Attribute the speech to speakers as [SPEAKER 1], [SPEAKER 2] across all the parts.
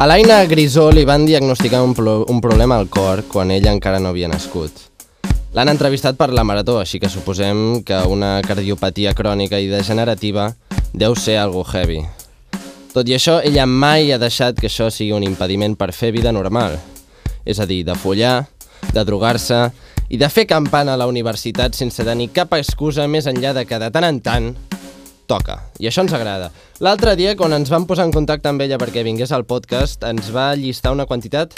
[SPEAKER 1] A l'Aina Grisó li van diagnosticar un, pro un problema al cor quan ella encara no havia nascut. L'han entrevistat per la Marató, així que suposem que una cardiopatia crònica i degenerativa deu ser algo heavy. Tot i això, ella mai ha deixat que això sigui un impediment per fer vida normal. És a dir, de follar, de drogar-se i de fer campana a la universitat sense tenir cap excusa més enllà de que de tant en tant toca. I això ens agrada. L'altre dia, quan ens vam posar en contacte amb ella perquè vingués al podcast, ens va llistar una quantitat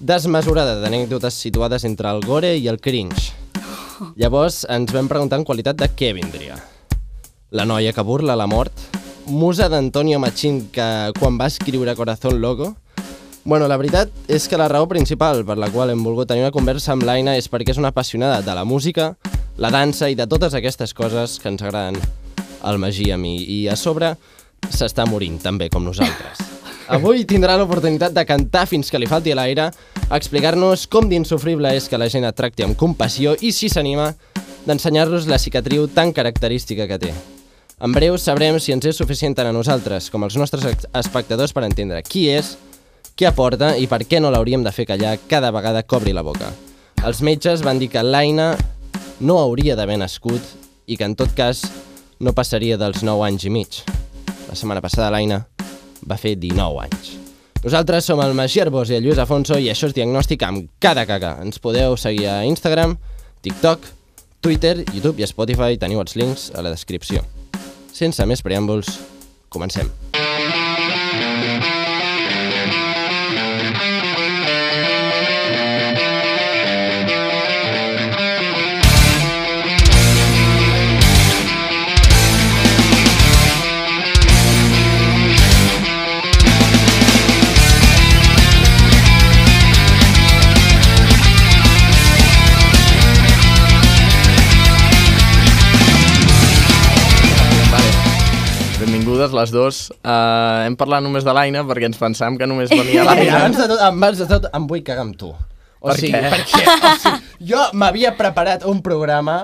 [SPEAKER 1] desmesurada d'anècdotes situades entre el gore i el cringe. Llavors ens vam preguntar en qualitat de què vindria. La noia que burla la mort, musa d'Antonio Machín que quan va escriure Corazón Loco, Bueno, la veritat és que la raó principal per la qual hem volgut tenir una conversa amb l'Aina és perquè és una apassionada de la música, la dansa i de totes aquestes coses que ens agraden al Magí i a mi. I a sobre s'està morint també, com nosaltres. Avui tindrà l'oportunitat de cantar fins que li falti l'aire, explicar-nos com d'insufrible és que la gent et tracti amb compassió i, si s'anima, d'ensenyar-los la cicatriu tan característica que té. En breu sabrem si ens és suficient tant a nosaltres com als nostres espectadors per entendre qui és, què aporta i per què no l'hauríem de fer callar cada vegada que obri la boca. Els metges van dir que l'Aina no hauria d'haver nascut i que en tot cas no passaria dels 9 anys i mig. La setmana passada l'Aina va fer 19 anys. Nosaltres som el Magí Arbós i el Lluís Afonso i això és Diagnòstic amb cada caca. Ens podeu seguir a Instagram, TikTok, Twitter, YouTube i Spotify. Teniu els links a la descripció. Sense més preàmbuls, comencem.
[SPEAKER 2] Benvingudes les dues. Uh, hem parlat només de l'Aina perquè ens pensàvem que només venia
[SPEAKER 1] Ai, abans
[SPEAKER 2] l'Aina.
[SPEAKER 1] de tot, abans de tot, em vull cagar amb tu. O
[SPEAKER 2] Per
[SPEAKER 1] sigui,
[SPEAKER 2] què?
[SPEAKER 1] perquè o sigui, jo m'havia preparat un programa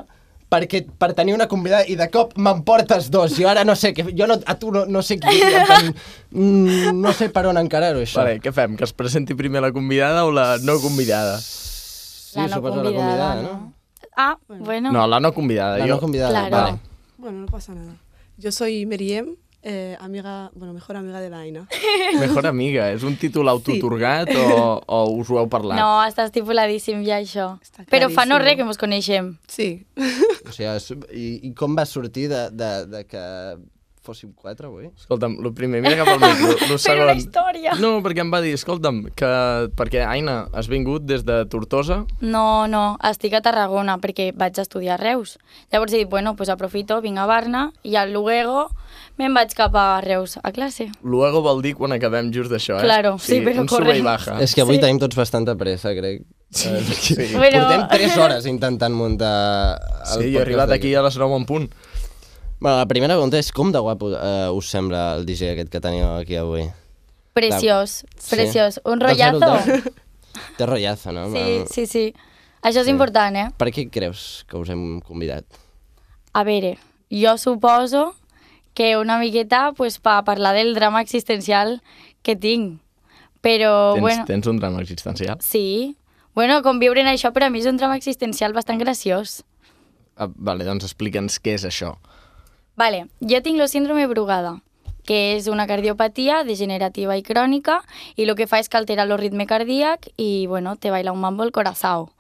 [SPEAKER 1] perquè per tenir una convidada i de cop me'n portes dos. Jo ara no sé, què, jo no, a tu no, no sé qui... em- mm, No sé per on encarar-ho, això.
[SPEAKER 2] Vale, què fem? Que es presenti primer la convidada o la no convidada?
[SPEAKER 1] Sí,
[SPEAKER 3] La no
[SPEAKER 1] suposo
[SPEAKER 3] convidada,
[SPEAKER 1] no?
[SPEAKER 3] ¿no? Ah, bueno.
[SPEAKER 2] No, la no convidada.
[SPEAKER 1] La
[SPEAKER 2] jo...
[SPEAKER 1] no convidada,
[SPEAKER 3] Claro.
[SPEAKER 1] vale.
[SPEAKER 4] Bueno, no pasa nada. Yo soy Meriem, eh, amiga, bueno, mejor amiga de la Aina.
[SPEAKER 2] Mejor amiga. És un títol autotorgat o, o us ho heu parlat?
[SPEAKER 3] No, està estipuladíssim ja això.
[SPEAKER 4] Està
[SPEAKER 3] Però fa no
[SPEAKER 4] claríssim.
[SPEAKER 3] res que ens coneixem.
[SPEAKER 4] Sí.
[SPEAKER 1] O sigui, és- i, I com va sortir de, de, de que fóssim quatre avui?
[SPEAKER 2] Escolta'm, el primer, mira cap al micro. El
[SPEAKER 3] Però
[SPEAKER 2] segon...
[SPEAKER 3] la història.
[SPEAKER 2] No, perquè em va dir, escolta'm, que... perquè Aina, has vingut des de Tortosa,
[SPEAKER 3] No, no, estic a Tarragona perquè vaig estudiar a Reus. Llavors he dit, bueno, pues aprofito, vinc a Barna i al Luego me'n vaig cap a Reus a classe.
[SPEAKER 2] luego vol dir quan acabem just d'això, eh?
[SPEAKER 3] Claro, sí, però
[SPEAKER 2] un sube
[SPEAKER 3] corre.
[SPEAKER 2] i baja.
[SPEAKER 1] És que avui
[SPEAKER 3] Sí.
[SPEAKER 1] tenim tots bastanta pressa, crec. Sí.
[SPEAKER 2] Ah. Sí.
[SPEAKER 3] Bueno.
[SPEAKER 1] Portem tres hores intentant muntar... el
[SPEAKER 2] Sí, jo he
[SPEAKER 1] podcast
[SPEAKER 2] arribat
[SPEAKER 1] d'aquí.
[SPEAKER 2] aquí a les 9 en punt.
[SPEAKER 1] Bueno, la primera pregunta és com de guapo eh, us sembla el DJ aquest que teniu aquí avui?
[SPEAKER 3] Preciós,
[SPEAKER 1] Sí.
[SPEAKER 3] preciós. Un
[SPEAKER 1] Dos zero
[SPEAKER 3] rotllazo.
[SPEAKER 1] dos. Té rotllazo, no?
[SPEAKER 3] Sí,
[SPEAKER 1] Amb-
[SPEAKER 3] sí, sí. Això és important, eh?
[SPEAKER 1] Per què creus que us hem convidat?
[SPEAKER 3] A veure, jo suposo que una miqueta pues, per parlar del drama existencial que tinc. Però,
[SPEAKER 2] Tens,
[SPEAKER 3] bueno...
[SPEAKER 2] tens un drama existencial.
[SPEAKER 3] Sí. Bueno, conviure en això per a mi és un drama existencial bastant graciós.
[SPEAKER 2] Ah, vale, doncs explica'ns què és això.
[SPEAKER 3] Vale, jo tinc la síndrome brugada, que és una cardiopatia degenerativa i crònica i el que fa és que altera el ritme cardíac i, bueno, te baila un mambo el corazón.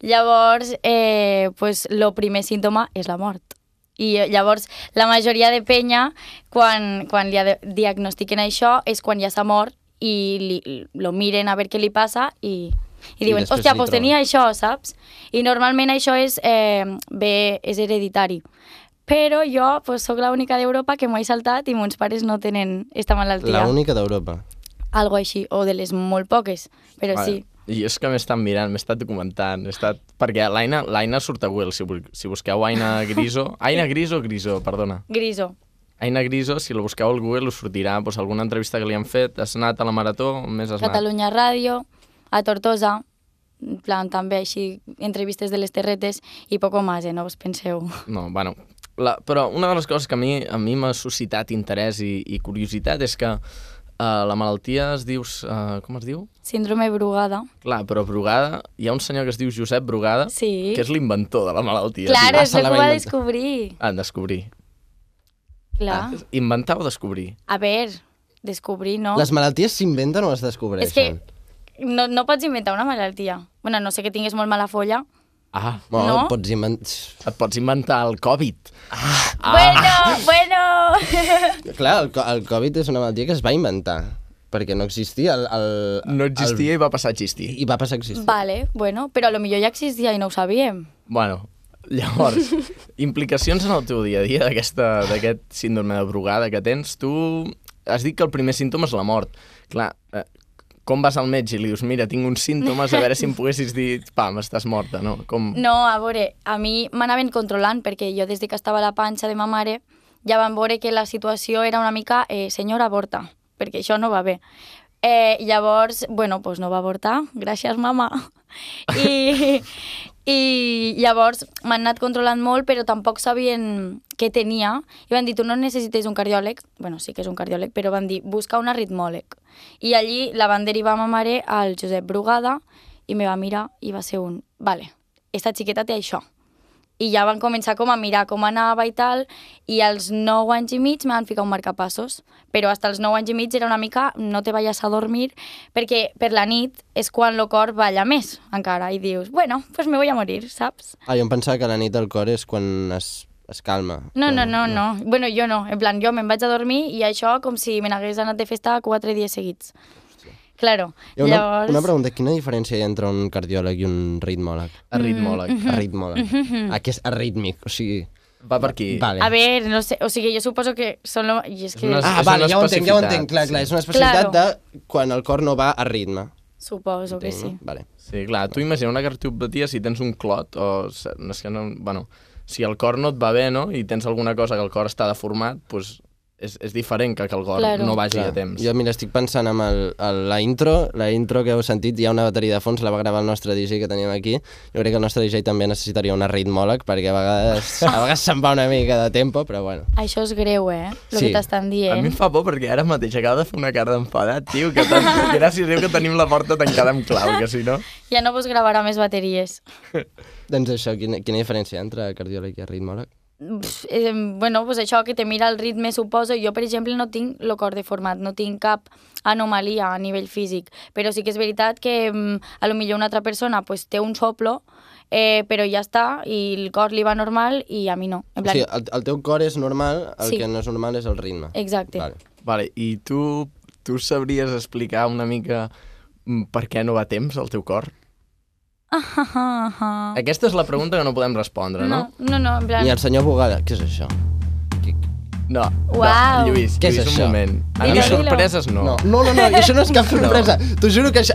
[SPEAKER 3] Llavors, eh, pues, el primer símptoma és la mort. I eh, llavors, la majoria de penya, quan, quan li ha- diagnostiquen això, és quan ja s'ha mort i li, lo miren a veure què li passa i, i
[SPEAKER 1] I
[SPEAKER 3] diuen,
[SPEAKER 1] després
[SPEAKER 3] hòstia,
[SPEAKER 1] li
[SPEAKER 3] pues
[SPEAKER 1] troben."
[SPEAKER 3] tenia això, saps? I normalment això és, eh, bé, és hereditari. Però jo pues, sóc l'única d'Europa que m'ho he saltat i mons pares no tenen esta malaltia.
[SPEAKER 1] L'única d'Europa.
[SPEAKER 3] Algo així, o de les molt poques, però
[SPEAKER 2] Vale.
[SPEAKER 3] sí.
[SPEAKER 2] I és que m'he estat mirant, m'he estat documentant, he estat... Perquè l'Aina l'Aina surt a Google, si, bu- si busqueu Aina Griso... Aina Griso, Griso, perdona.
[SPEAKER 3] Griso.
[SPEAKER 2] Aina Griso, si la busqueu al Google, us sortirà doncs, alguna entrevista que li han fet. Has anat a la Marató, on més has
[SPEAKER 3] Catalunya Ràdio, a Tortosa, en plan, també així, entrevistes de les terretes i poco más, eh, no us penseu.
[SPEAKER 2] anat? No, bueno... La, però una de les coses que a mi a mi m'ha suscitat interès i, i curiositat és que eh, la malaltia es diu... eh, com es diu?
[SPEAKER 3] Síndrome Brugada.
[SPEAKER 2] Clar, però Brugada... Hi ha un senyor que es diu Josep Brugada,
[SPEAKER 3] Sí.
[SPEAKER 2] que és l'inventor de la malaltia. Ah,
[SPEAKER 3] Claro,
[SPEAKER 1] Ah,
[SPEAKER 3] es
[SPEAKER 1] se
[SPEAKER 3] lo
[SPEAKER 1] la
[SPEAKER 3] que
[SPEAKER 1] va
[SPEAKER 3] va a
[SPEAKER 1] inventar.
[SPEAKER 3] descubrir.
[SPEAKER 2] En descobrir. Ah.
[SPEAKER 3] Claro.
[SPEAKER 2] Inventar o descobrir?
[SPEAKER 3] A ver, descobrir, ¿no?
[SPEAKER 1] Les malalties s'inventen o es
[SPEAKER 3] És que
[SPEAKER 1] descobreixen?
[SPEAKER 3] no, no pots inventar una malaltia. Bueno, no sé que tinguis molt mala folla.
[SPEAKER 2] Ah,
[SPEAKER 1] Bueno,
[SPEAKER 3] no.
[SPEAKER 1] pots inventar...
[SPEAKER 2] et pots inventar el Covid.
[SPEAKER 3] Ah. Bueno, bueno.
[SPEAKER 1] Clar, el, co- el Covid és una malaltia que es va inventar, perquè no existia el... el
[SPEAKER 2] No existia i va passar a
[SPEAKER 1] El,
[SPEAKER 2] existir.
[SPEAKER 1] I va passar a existir.
[SPEAKER 3] vale, bueno, però a lo millor ja existia i no ho sabíem.
[SPEAKER 2] Bueno, llavors, implicacions en el teu dia a dia d'aquesta- d'aquest síndrome de brugada que tens. Tu has dit que el primer símptoma és la mort. Clar, eh, com vas al metge i li dius, mira, tinc uns símptomes, a veure si em poguessis dir, pam, estàs morta, no? Com...
[SPEAKER 3] No, a veure, a mi m'anaven controlant perquè jo des de que estava a la panxa de ma mare ja van veure que la situació era una mica eh, senyora avorta, perquè això no va bé. Eh, llavors, bueno, pues no va avortar, gràcies mama. I, i llavors m'han anat controlant molt, però tampoc sabien què tenia. I van dir, tu no necessites un cardiòleg, bueno, sí que és un cardiòleg, però van dir, busca un arritmòleg. I allí la van derivar a ma mare al Josep Brugada i me va mirar i va ser un, vale, esta xiqueta té això. I ja van començar com a mirar com anava i tal, i als 9 anys i mig me van ficar un marcapassos, però hasta els 9 anys i mig era una mica no te vayas a dormir, perquè per la nit és quan el cor balla més encara, i dius, bueno, pues me voy a morir, saps?
[SPEAKER 1] Ah, jo em pensava que la nit del cor és quan es, es calma.
[SPEAKER 3] No, no,
[SPEAKER 1] Quan-
[SPEAKER 3] no, no. Bueno, jo no. En plan, jo me'n vaig a dormir i això com si me n'hagués anat de festa quatre dies seguits. Claro.
[SPEAKER 1] Hi ha Una,
[SPEAKER 3] Llavors...
[SPEAKER 1] una pregunta, quina diferència hi ha entre un cardiòleg i un ritmòleg?
[SPEAKER 3] Mm.
[SPEAKER 2] Arritmòleg.
[SPEAKER 3] Mm-hmm.
[SPEAKER 1] Arritmòleg. Aquest arrítmic, o sigui...
[SPEAKER 2] Va per aquí.
[SPEAKER 1] Vale.
[SPEAKER 3] A ver, no sé, o sigui, jo suposo que són... Lo... I és que...
[SPEAKER 2] una-
[SPEAKER 1] Ah,
[SPEAKER 2] és
[SPEAKER 1] vale,
[SPEAKER 2] una
[SPEAKER 1] ja ho entenc, ja ho
[SPEAKER 2] especificitat,
[SPEAKER 1] entenc, clar,
[SPEAKER 2] sí.
[SPEAKER 1] clar, és una especialitat
[SPEAKER 3] Claro.
[SPEAKER 1] de quan el cor no va a ritme.
[SPEAKER 3] Suposo que
[SPEAKER 1] Entenc,
[SPEAKER 3] sí.
[SPEAKER 1] No? Vale.
[SPEAKER 2] Sí, clar, tu imagina una cardiopatia si tens un clot o... s- No és que no, bueno, si el cor no et va bé, no?, i tens alguna cosa que el cor està deformat, doncs és, és diferent que que el cor
[SPEAKER 3] Claro.
[SPEAKER 2] no vagi
[SPEAKER 1] Clar.
[SPEAKER 2] a temps.
[SPEAKER 1] Jo, mira, estic pensant en, el, en la intro, la intro que heu sentit, hi ha una bateria de fons, la va gravar el nostre DJ que tenim aquí. Jo crec que el nostre DJ també necessitaria un ritmòleg, perquè a vegades, a vegades se'n va una mica de tempo, però bueno.
[SPEAKER 3] Això és greu, eh? El
[SPEAKER 1] Sí.
[SPEAKER 3] que t'estan
[SPEAKER 2] A mi em
[SPEAKER 3] dient.
[SPEAKER 2] fa por perquè ara mateix acaba de fer una cara d'enfadat, tio, que tan... gràcies a Déu que tenim la porta tancada amb clau, que si no...
[SPEAKER 3] Ja no vos gravarà més bateries.
[SPEAKER 1] Doncs això, quina, quina diferència hi ha entre cardiòleg i ritmòleg?
[SPEAKER 3] Pff, eh, bueno, pues això que te mira el ritme, suposo. Jo, per exemple, no tinc el cor deformat, no tinc cap anomalia a nivell físic. Però sí que és veritat que mm, a lo millor una altra persona pues, té un soplo, eh, però ja està, i el cor li va normal i a mi no. En
[SPEAKER 1] O
[SPEAKER 3] plan,
[SPEAKER 1] sigui, el, el teu cor és normal, el
[SPEAKER 3] Sí.
[SPEAKER 1] que no és normal és el ritme.
[SPEAKER 3] Exacte.
[SPEAKER 1] Vale.
[SPEAKER 2] Vale, i tu, tu sabries explicar una mica mm, per què no va a temps el teu cor?
[SPEAKER 3] Ah.
[SPEAKER 2] Aquesta és la pregunta que no podem respondre, no?
[SPEAKER 3] No, no, no, en plan...
[SPEAKER 1] I el senyor Bugada, què és això? Qui-
[SPEAKER 2] No,
[SPEAKER 3] Uau.
[SPEAKER 2] no Lluís,
[SPEAKER 1] Què és
[SPEAKER 2] Lluís, un
[SPEAKER 1] això?
[SPEAKER 2] moment. Ara,
[SPEAKER 3] Dilo, dilo.
[SPEAKER 2] sorpreses no.
[SPEAKER 1] No, no, no, no, i això no és cap sorpresa. T'ho juro que això,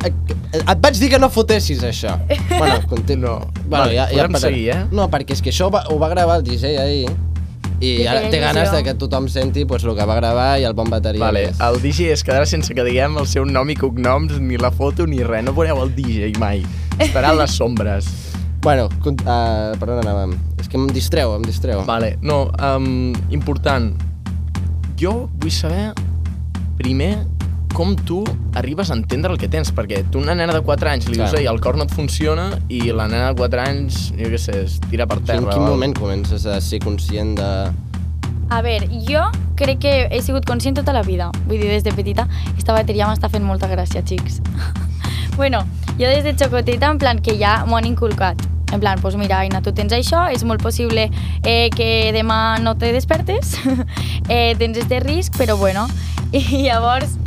[SPEAKER 1] et vaig dir que no fotessis això. Bueno, conté...
[SPEAKER 2] No.
[SPEAKER 1] Bueno,
[SPEAKER 2] Vale,
[SPEAKER 1] ja, ja
[SPEAKER 2] podem
[SPEAKER 1] parlarem.
[SPEAKER 2] seguir, eh?
[SPEAKER 1] No, perquè és que això ho va, ho va gravar el DJ ahir i
[SPEAKER 3] I
[SPEAKER 1] ara
[SPEAKER 3] feia
[SPEAKER 1] té ganes
[SPEAKER 3] il·lusió.
[SPEAKER 1] de que tothom senti pues, el que va gravar i el bon bateria.
[SPEAKER 2] Vale,
[SPEAKER 1] que és.
[SPEAKER 2] el DJ es quedarà sense que diguem el seu nom i cognoms, ni la foto, ni res. No veureu el DJ mai. Estarà a les sombres.
[SPEAKER 1] Bueno, con- eh, per on anàvem? És que em distreu, em distreu.
[SPEAKER 2] Vale, no, um, important. Jo vull saber, primer, com tu arribes a entendre el que tens, perquè tu a una nena de 4 anys li dius,
[SPEAKER 1] Clar.
[SPEAKER 2] ei, el cor no et funciona, i la nena de 4 anys, jo què sé, es tira per
[SPEAKER 1] en
[SPEAKER 2] terra.
[SPEAKER 1] quin
[SPEAKER 2] o-
[SPEAKER 1] moment comences a ser conscient de...
[SPEAKER 3] A veure, jo crec que he sigut conscient tota la vida. Vull dir, des de petita, aquesta bateria m'està fent molta gràcia, xics. bueno, jo des de xocoteta, en plan, que ja m'ho han inculcat. En plan, doncs pues mira, Aina, tu tens això, és molt possible eh, que demà no te despertes, eh, tens este risc, però bueno. I llavors,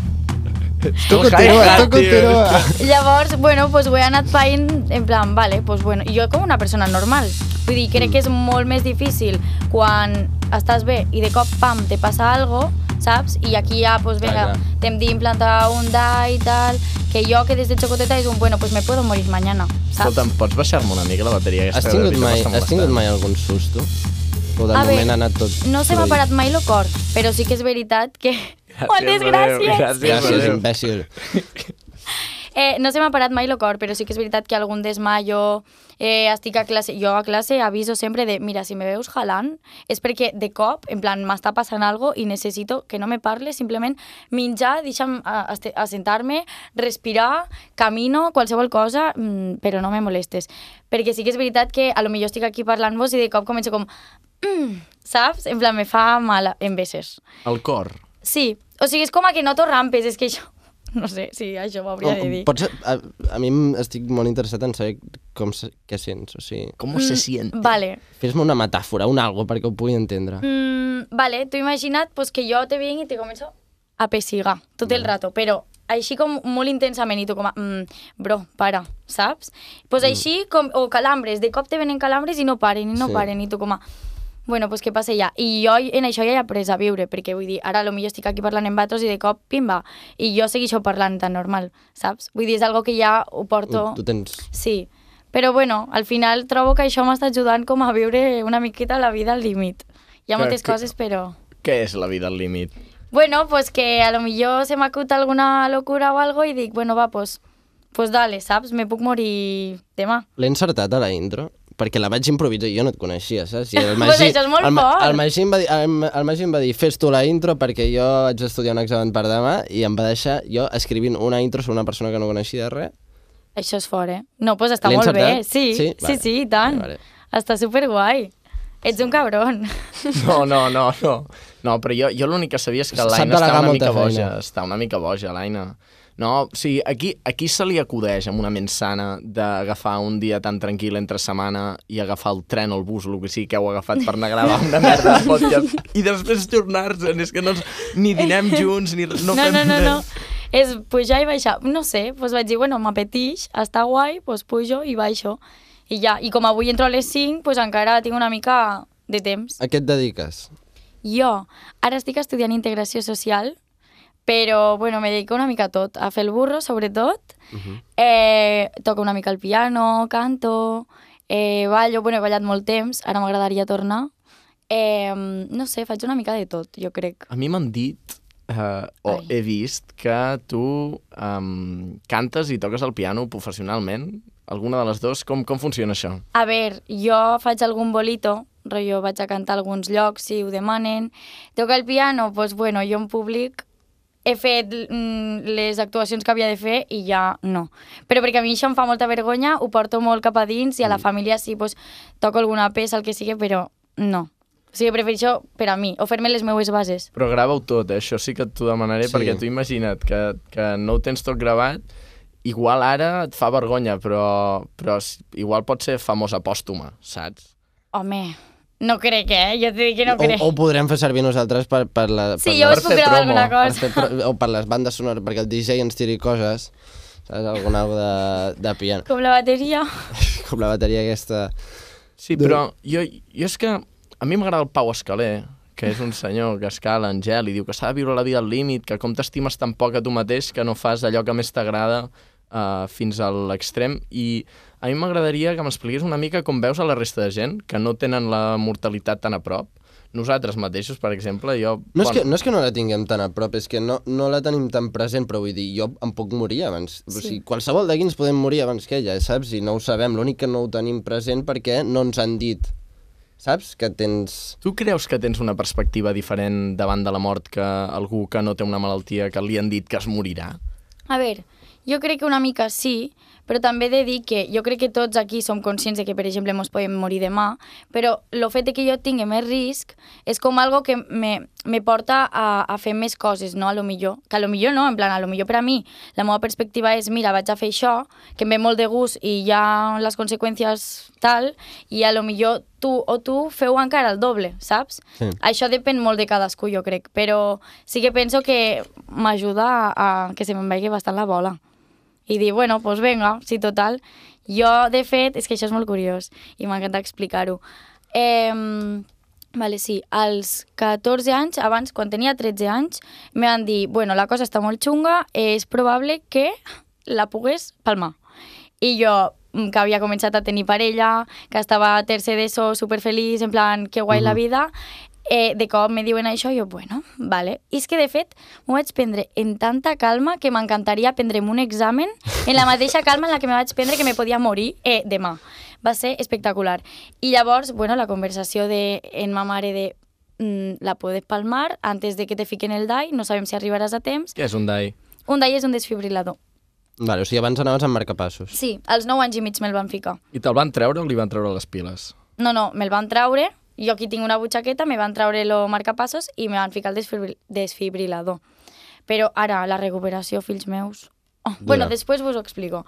[SPEAKER 1] Tu
[SPEAKER 2] El
[SPEAKER 1] continua,
[SPEAKER 2] hi-hat,
[SPEAKER 1] tu
[SPEAKER 2] tio.
[SPEAKER 1] continua.
[SPEAKER 3] Llavors, bueno, pues ho he anat paint en plan, vale, pues bueno, jo com una persona normal. Vull dir, crec que és molt més difícil quan estàs bé i de cop, pam, te passa algo, saps? I aquí ja, pues
[SPEAKER 1] Clar,
[SPEAKER 3] venga,
[SPEAKER 1] clar.
[SPEAKER 3] t'hem d'implantar un DA i tal, que jo que des de xocoteta és un, bueno, pues me puedo morir mañana, saps?
[SPEAKER 2] Escolta'm, pots baixar-me una mica la bateria aquesta?
[SPEAKER 1] Has
[SPEAKER 2] que de
[SPEAKER 1] tingut,
[SPEAKER 2] veritat
[SPEAKER 1] mai,
[SPEAKER 2] m'està
[SPEAKER 1] has tingut
[SPEAKER 2] molestant?
[SPEAKER 1] mai algun susto? O de
[SPEAKER 3] A
[SPEAKER 1] moment
[SPEAKER 3] veure,
[SPEAKER 1] ha anat tot...
[SPEAKER 3] No se m'ha
[SPEAKER 1] fluid?
[SPEAKER 3] parat mai el cor, però sí que és veritat que...
[SPEAKER 2] Gràcies,
[SPEAKER 3] Moltes
[SPEAKER 2] adéu,
[SPEAKER 3] gràcies!
[SPEAKER 2] gràcies.
[SPEAKER 1] Gràcies,
[SPEAKER 2] Adéu.
[SPEAKER 1] imbècil.
[SPEAKER 3] Eh, no se m'ha parat mai el cor, però sí que és veritat que algun desmaio, eh, estic a classe... Jo a classe aviso sempre de, mira, si me veus jalant, és perquè de cop, en plan, m'està passant algo i necessito que no me parle, simplement menjar, deixa'm a- aste- assentar-me, respirar, camino, qualsevol cosa, mm, però no me molestes. Perquè sí que és veritat que a lo millor estic aquí parlant-vos i de cop començo com... Mm, saps? En plan, me fa mal en veces.
[SPEAKER 2] El cor.
[SPEAKER 3] Sí, o sigui, és com a que noto rampes, és que això... No sé, sí, això ho hauria de dir.
[SPEAKER 1] Pots, a, a mi em- estic molt interessat en saber com se, què sents, o sigui...
[SPEAKER 2] Com se sient?
[SPEAKER 3] Vale.
[SPEAKER 1] Fes-me una metàfora, un algo perquè ho pugui entendre.
[SPEAKER 3] Mm, vale, tu imagina't pues, que jo te vinc i te començo a pessigar tot el rato, però així com molt intensament i tu com a, mm, bro, para, saps?
[SPEAKER 1] Mm.
[SPEAKER 3] pues així, com, o calambres, de cop te venen calambres i no paren, i no
[SPEAKER 1] Sí.
[SPEAKER 3] paren, i tu com a, bueno, pues què passa ja? I jo en això ja he après a viure, perquè vull dir, ara a lo millor estic aquí parlant en vatos i de cop, pimba, i jo segueixo parlant tan normal, saps? Vull dir, és algo que ja ho porto...
[SPEAKER 1] Tu tens...
[SPEAKER 3] Sí, però bueno, al final trobo que això m'està ajudant com a viure una miqueta la vida al límit. Hi ha
[SPEAKER 2] Que-
[SPEAKER 3] moltes
[SPEAKER 2] que-
[SPEAKER 3] coses, però...
[SPEAKER 2] Què és la vida al límit?
[SPEAKER 3] Bueno, pues que a lo millor se m'acuta alguna locura o algo i dic, bueno, va, pues, pues dale, saps? Me puc morir demà.
[SPEAKER 1] L'he encertat a la intro, perquè la vaig improvisar i jo no et coneixia, saps? I el
[SPEAKER 3] Pues això és molt
[SPEAKER 1] el, Ma-
[SPEAKER 3] fort.
[SPEAKER 1] El Magí, em va dir, el, Ma- el Magí em va dir, fes tu la intro perquè jo haig d'estudiar un examen per demà i em va deixar jo escrivint una intro sobre una persona que no coneixia de res.
[SPEAKER 3] Això és fort, eh? No, pues està
[SPEAKER 1] L'he
[SPEAKER 3] molt bé.
[SPEAKER 1] encertat?
[SPEAKER 3] Sí, sí,
[SPEAKER 1] Sí?
[SPEAKER 3] sí,
[SPEAKER 1] Vale.
[SPEAKER 3] sí, i tant.
[SPEAKER 1] Vale, vale.
[SPEAKER 3] Està superguai. Ets un cabron.
[SPEAKER 2] No, no, no, no. No, però jo, jo l'únic que sabia és que
[SPEAKER 1] Sap
[SPEAKER 2] l'Aina
[SPEAKER 1] delegar
[SPEAKER 2] està una
[SPEAKER 1] molta
[SPEAKER 2] mica boja.
[SPEAKER 1] feina.
[SPEAKER 2] Està una mica boja, l'Aina. No, o sigui, aquí, aquí se li acudeix amb una ment sana d'agafar un dia tan tranquil entre setmana i agafar el tren o el bus, el que sigui que heu agafat per anar a gravar una merda de podcast i després tornar-se'n, és que no, ens- ni dinem junts, ni res, no,
[SPEAKER 3] no,
[SPEAKER 2] fem
[SPEAKER 3] no, no,
[SPEAKER 2] res.
[SPEAKER 3] no. És pujar i baixar. No sé, doncs vaig dir, bueno, m'apetix, està guai, doncs pujo i baixo. I ja, i com avui entro a les 5, doncs encara tinc una mica de temps.
[SPEAKER 1] A què et dediques?
[SPEAKER 3] Jo ara estic estudiant integració social, però, bueno, me dedico una mica a tot, a fer el burro, sobretot. Uh -huh. eh, toco una mica el piano, canto, eh, ballo, bueno, he ballat molt temps, ara m'agradaria tornar. Eh, no sé, faig una mica de tot, jo crec.
[SPEAKER 2] A mi m'han dit, eh, o
[SPEAKER 3] Ai.
[SPEAKER 2] he vist, que tu um, cantes i toques el piano professionalment. Alguna de les dues, com, com funciona això?
[SPEAKER 3] A veure, jo faig algun bolito, rotllo, vaig a cantar a alguns llocs si ho demanen. Toca el piano, doncs bueno, jo en públic he fet mm, les actuacions que havia de fer i ja no. Però perquè a mi això em fa molta vergonya, ho porto molt cap a dins
[SPEAKER 1] Mm.
[SPEAKER 3] i a la família sí, doncs, toco alguna peça, el que sigui, però no. O sigui, prefereixo per a mi, o fer-me les meues bases.
[SPEAKER 2] Però grava-ho tot, eh? això sí que t'ho
[SPEAKER 1] Sí.
[SPEAKER 2] demanaré, sí. perquè tu imagina't que, que no ho tens tot gravat, igual ara et fa vergonya, però, però s- igual pot ser famosa pòstuma, saps?
[SPEAKER 3] Home, no crec, eh? Jo t'he dit que no
[SPEAKER 1] O,
[SPEAKER 3] crec.
[SPEAKER 1] o podrem fer servir nosaltres per, per la... Per
[SPEAKER 3] sí, jo
[SPEAKER 1] la...
[SPEAKER 2] per
[SPEAKER 3] us puc
[SPEAKER 2] fer
[SPEAKER 3] gravar
[SPEAKER 2] promo,
[SPEAKER 3] alguna
[SPEAKER 1] per
[SPEAKER 3] cosa.
[SPEAKER 1] fer, per, o per les bandes sonores, perquè el DJ ens tiri coses, saps? Alguna cosa de, de piano.
[SPEAKER 3] Com la bateria.
[SPEAKER 1] Com la bateria aquesta...
[SPEAKER 2] Sí,
[SPEAKER 1] De-
[SPEAKER 2] però jo, jo és que a mi m'agrada el Pau Escaler, que és un senyor que escala en gel i diu que s'ha de viure la vida al límit, que com t'estimes tan poc a tu mateix que no fas allò que més t'agrada uh, fins a l'extrem. I a mi m'agradaria que m'expliqués una mica com veus a la resta de gent que no tenen la mortalitat tan a prop. Nosaltres mateixos, per exemple, jo...
[SPEAKER 1] No és, que, no és que no la tinguem tan a prop, és que no, no la tenim tan present, però vull dir, jo em puc morir abans. Sí. O sigui, qualsevol d'aquí ens podem morir abans que ella, saps? I no ho sabem, l'únic que no ho tenim present perquè no ens han dit, saps? Que tens...
[SPEAKER 2] Tu creus que tens una perspectiva diferent davant de la mort que algú que no té una malaltia que li han dit que es morirà?
[SPEAKER 3] A veure, jo crec que una mica sí, però també he de dir que jo crec que tots aquí som conscients de que, per exemple, ens podem morir demà, però el fet de que jo tingui més risc és com algo que me, me porta a, a fer més coses, no? A lo millor. Que a lo millor no, en plan, a lo millor per a mi la meva perspectiva és, mira, vaig a fer això, que em ve molt de gust i hi ha les conseqüències tal, i a lo millor tu o tu feu encara el doble, saps?
[SPEAKER 1] Sí.
[SPEAKER 3] Això depèn molt de cadascú, jo crec, però sí que penso que m'ajuda a, a que se me'n vegi bastant la bola. I dir, bueno, doncs pues venga, sí, total. Jo, de fet, és que això és molt curiós i m'encanta explicar-ho. Eh, vale, sí, als 14 anys, abans, quan tenia 13 anys, me van dir, bueno, la cosa està molt xunga, és probable que la pugues palmar. I jo, mm, que havia començat a tenir parella, que estava a tercer d'ESO superfeliç, en plan, que guai la vida, Eh, de cop me diuen això i jo, bueno, vale. I és que, de fet, m'ho vaig prendre en tanta calma que m'encantaria prendre'm un examen en la mateixa calma en la que me vaig prendre que me podia morir eh, demà. Va ser espectacular. I llavors, bueno, la conversació de, en ma mare de mm, la podes palmar antes de que te fiquen el DAI, no sabem si arribaràs a temps.
[SPEAKER 2] Què és un DAI?
[SPEAKER 3] Un DAI és un desfibrilador.
[SPEAKER 1] Vale, o sigui, abans anaves amb marcapassos.
[SPEAKER 3] Sí, als 9 anys i mig me'l van ficar.
[SPEAKER 2] I te'l van treure o li van treure les piles?
[SPEAKER 3] No, no, me'l van treure, jo aquí tinc una butxaqueta, me van treure el marcapassos i me van ficar el desfibri- desfibrilador. Però ara, la recuperació, fills meus... Oh, bueno, després vos ho explico.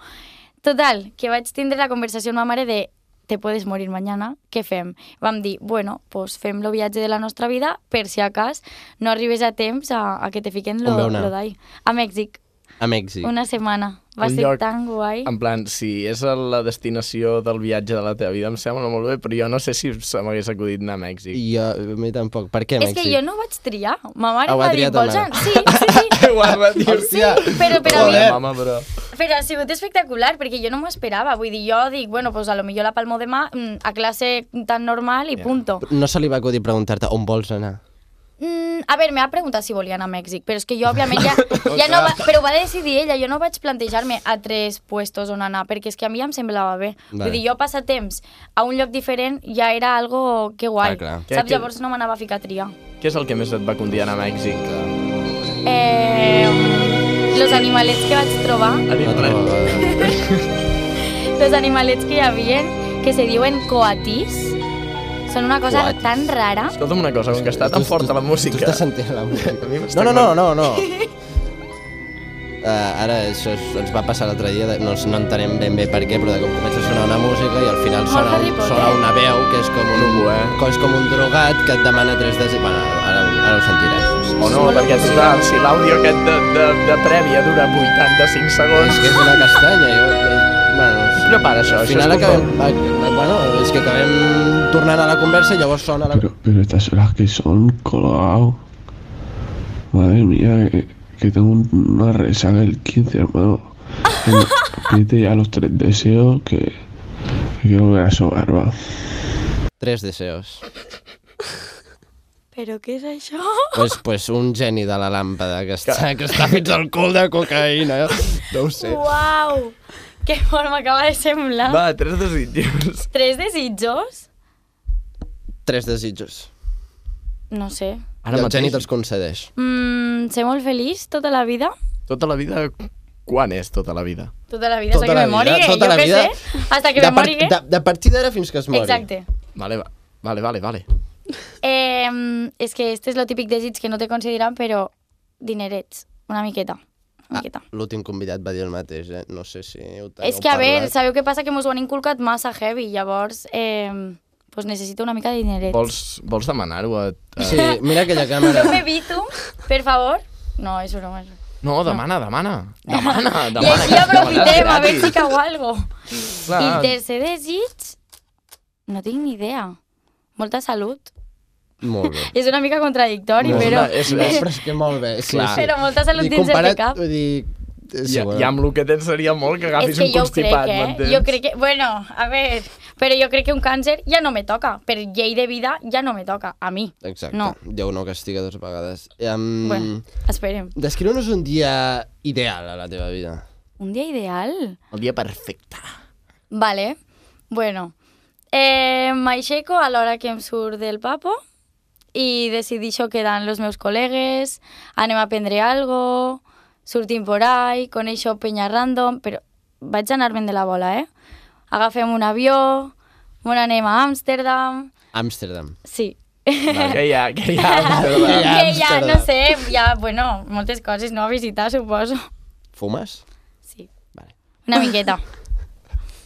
[SPEAKER 3] Total, que vaig tindre la conversació amb ma mare de te puedes morir mañana, què fem? Vam dir, bueno, pues fem el viatge de la nostra vida per si a cas no arribes a temps a, a que te fiquen lo,
[SPEAKER 1] On vau anar?
[SPEAKER 3] lo d'ahir. A Mèxic,
[SPEAKER 1] A Mèxic.
[SPEAKER 3] una setmana. Va
[SPEAKER 2] Un
[SPEAKER 3] ser
[SPEAKER 2] lloc
[SPEAKER 3] tan guai.
[SPEAKER 2] En plan, si és a la destinació del viatge de la teva vida, em sembla molt bé, però jo no sé si se m'hagués acudit anar a Mèxic.
[SPEAKER 1] I jo, a mi tampoc. Per què
[SPEAKER 3] És
[SPEAKER 1] Mèxic?
[SPEAKER 3] que jo no ho vaig triar. Ma mare
[SPEAKER 1] Ah, ho
[SPEAKER 3] va
[SPEAKER 1] ha
[SPEAKER 3] dir,
[SPEAKER 1] triat ta
[SPEAKER 3] vols
[SPEAKER 1] mare."
[SPEAKER 3] anar? Sí, sí, sí.
[SPEAKER 2] Que guapa, tio.
[SPEAKER 3] Sí, però per a mi...
[SPEAKER 2] Joder, mama, però...
[SPEAKER 3] Però ha sigut espectacular, perquè jo no m'ho esperava. Vull dir, jo dic, bueno, pues a lo millor la palmo demà mm, a classe tan normal i
[SPEAKER 2] Ja.
[SPEAKER 3] punto.
[SPEAKER 1] No se li va acudir preguntar-te on vols anar.
[SPEAKER 3] Mm, a veure, m'ha preguntat si volia anar a Mèxic, però és que jo, òbviament, ja, ja no va, però ho va decidir ella, jo no vaig plantejar-me a tres puestos on anar, perquè és que a mi ja em semblava bé.
[SPEAKER 1] Vale.
[SPEAKER 3] Vull dir, jo passar temps a un lloc diferent ja era algo que guai.
[SPEAKER 1] Clar, clar.
[SPEAKER 2] Que-
[SPEAKER 3] Saps?
[SPEAKER 2] que-
[SPEAKER 3] Llavors no m'anava a ficar a triar.
[SPEAKER 2] Què és el que més et va convidar a anar a Mèxic?
[SPEAKER 3] Eh,
[SPEAKER 2] Mm.
[SPEAKER 3] los animalets que vaig trobar
[SPEAKER 2] A dir,
[SPEAKER 1] No
[SPEAKER 2] res.
[SPEAKER 1] trobo-
[SPEAKER 3] Los animalets que hi havia, que se diuen coatís, són una cosa
[SPEAKER 1] Coatís.
[SPEAKER 3] tan rara.
[SPEAKER 2] Escolta'm una cosa, com que està tan
[SPEAKER 1] Tu-
[SPEAKER 2] forta la
[SPEAKER 1] tu-
[SPEAKER 2] música...
[SPEAKER 1] Tu estàs sentint la
[SPEAKER 2] A mi
[SPEAKER 1] música.
[SPEAKER 2] m'està
[SPEAKER 1] No, no, no, no, no. Uh, ara això es- ens va passar l'altre dia, de- no, ens- no entenem ben bé per què, però de cop comença a sonar una música i al final
[SPEAKER 3] Molt
[SPEAKER 1] sona,
[SPEAKER 3] Harry
[SPEAKER 1] un,
[SPEAKER 3] Potter.
[SPEAKER 1] sona una veu que és com un,
[SPEAKER 2] Loco, eh?
[SPEAKER 1] que és com un drogat que et demana tres de... Bueno, ara, ara ho sentiràs.
[SPEAKER 2] O no, perquè total, si l'àudio aquest de, de, de prèvia dura 85
[SPEAKER 1] És
[SPEAKER 2] segons...
[SPEAKER 1] que és una castanya, jo... Bueno, no sé.
[SPEAKER 2] Prepara això,
[SPEAKER 1] al
[SPEAKER 2] això
[SPEAKER 1] final
[SPEAKER 2] és culpa.
[SPEAKER 1] acabem... ac- Bueno, és que acabem tornant a la conversa i llavors sona la...
[SPEAKER 5] Pero, pero estas horas que son, colgado. Madre mía, que, que tengo un- una resaca del 15, hermano. Venga, Pídete ya los tres deseos que que quiero volver a sobar, va.
[SPEAKER 1] Tres deseos.
[SPEAKER 3] Però què és això?
[SPEAKER 1] Pues, pues un geni de la làmpada que està, que està fins al cul de cocaïna. eh? No ho sé.
[SPEAKER 3] Uau! Que fort m'acaba de semblar.
[SPEAKER 2] Va, tres desitjos.
[SPEAKER 3] Tres desitjos?
[SPEAKER 1] Tres desitjos.
[SPEAKER 3] No sé.
[SPEAKER 1] Ara I el geni te'ls concedeix.
[SPEAKER 3] Mm, ser molt feliç tota la vida?
[SPEAKER 2] Tota la vida... Quan és tota la vida?
[SPEAKER 3] Tota la vida, hasta que me mori,
[SPEAKER 1] tota
[SPEAKER 3] jo
[SPEAKER 1] la
[SPEAKER 3] què
[SPEAKER 1] vida.
[SPEAKER 3] sé. Hasta que
[SPEAKER 1] de
[SPEAKER 3] me mori,
[SPEAKER 1] par- de, de partir d'ara fins que es mori.
[SPEAKER 3] Exacte.
[SPEAKER 2] Vale, va- vale, vale, vale.
[SPEAKER 3] Eh, és que este és lo típic desig que no te consideran, però dinerets, una miqueta.
[SPEAKER 1] Ah,
[SPEAKER 3] Una miqueta.
[SPEAKER 1] L'últim convidat va dir el mateix, eh? No sé si ho teniu
[SPEAKER 3] És que, a veure,
[SPEAKER 1] parlat.
[SPEAKER 3] sabeu què passa? Que mos ho han inculcat massa heavy, llavors eh, pues necessito una mica de dineret.
[SPEAKER 2] Vols, vols demanar-ho a... a...
[SPEAKER 1] Sí, mira aquella càmera.
[SPEAKER 3] Jo m'evito, per favor. No, és broma. és broma.
[SPEAKER 2] No, demana, demana. Demana, demana.
[SPEAKER 3] I així
[SPEAKER 2] que
[SPEAKER 3] aprofitem, a
[SPEAKER 2] demanar
[SPEAKER 3] veure
[SPEAKER 2] gratis.
[SPEAKER 3] si cau algo.
[SPEAKER 2] Clar,
[SPEAKER 3] I tercer desig, no tinc ni idea. Molta salut.
[SPEAKER 1] Molt bé.
[SPEAKER 3] És una mica contradictori,
[SPEAKER 2] No,
[SPEAKER 3] però...
[SPEAKER 2] no, és-
[SPEAKER 1] No, però és que molt bé. Sí,
[SPEAKER 2] Clar.
[SPEAKER 1] sí.
[SPEAKER 3] Però molta salut
[SPEAKER 1] I
[SPEAKER 3] dins del
[SPEAKER 1] comparat,
[SPEAKER 3] cap.
[SPEAKER 1] Vull dir... eh, Sí,
[SPEAKER 2] ja,
[SPEAKER 1] bueno.
[SPEAKER 2] ja amb el que tens seria molt que agafis
[SPEAKER 3] és que
[SPEAKER 2] un
[SPEAKER 3] jo ho crec,
[SPEAKER 2] constipat,
[SPEAKER 3] eh?
[SPEAKER 2] m'entens?
[SPEAKER 3] Jo crec que... Bueno, a veure... Però jo crec que un càncer ja no me toca. Per llei de vida ja no me toca, a mi.
[SPEAKER 1] Exacte.
[SPEAKER 3] No.
[SPEAKER 1] Déu no castiga dues vegades.
[SPEAKER 2] Mm.
[SPEAKER 1] Um,
[SPEAKER 3] Bueno, esperem.
[SPEAKER 1] Descriu-nos un dia ideal a la teva vida.
[SPEAKER 3] Un dia ideal?
[SPEAKER 2] El dia perfecte.
[SPEAKER 3] Vale. Bueno, eh, m'aixeco a l'hora que em surt del papo i decidixo quedar amb els meus col·legues, anem a prendre algo, sortim por ahí, coneixo penya random, però vaig anar-me'n de la bola, eh? Agafem un avió, on anem a Amsterdam...
[SPEAKER 1] Amsterdam.
[SPEAKER 3] Sí,
[SPEAKER 2] Que hi ha, que hi
[SPEAKER 1] a
[SPEAKER 2] ha.
[SPEAKER 3] que Ah, ja,
[SPEAKER 1] Amsterdam.
[SPEAKER 3] no sé, ja, bueno, moltes coses, no? A visitar, suposo.
[SPEAKER 1] Fumes?
[SPEAKER 3] Sí,
[SPEAKER 1] Vale.
[SPEAKER 3] una miqueta.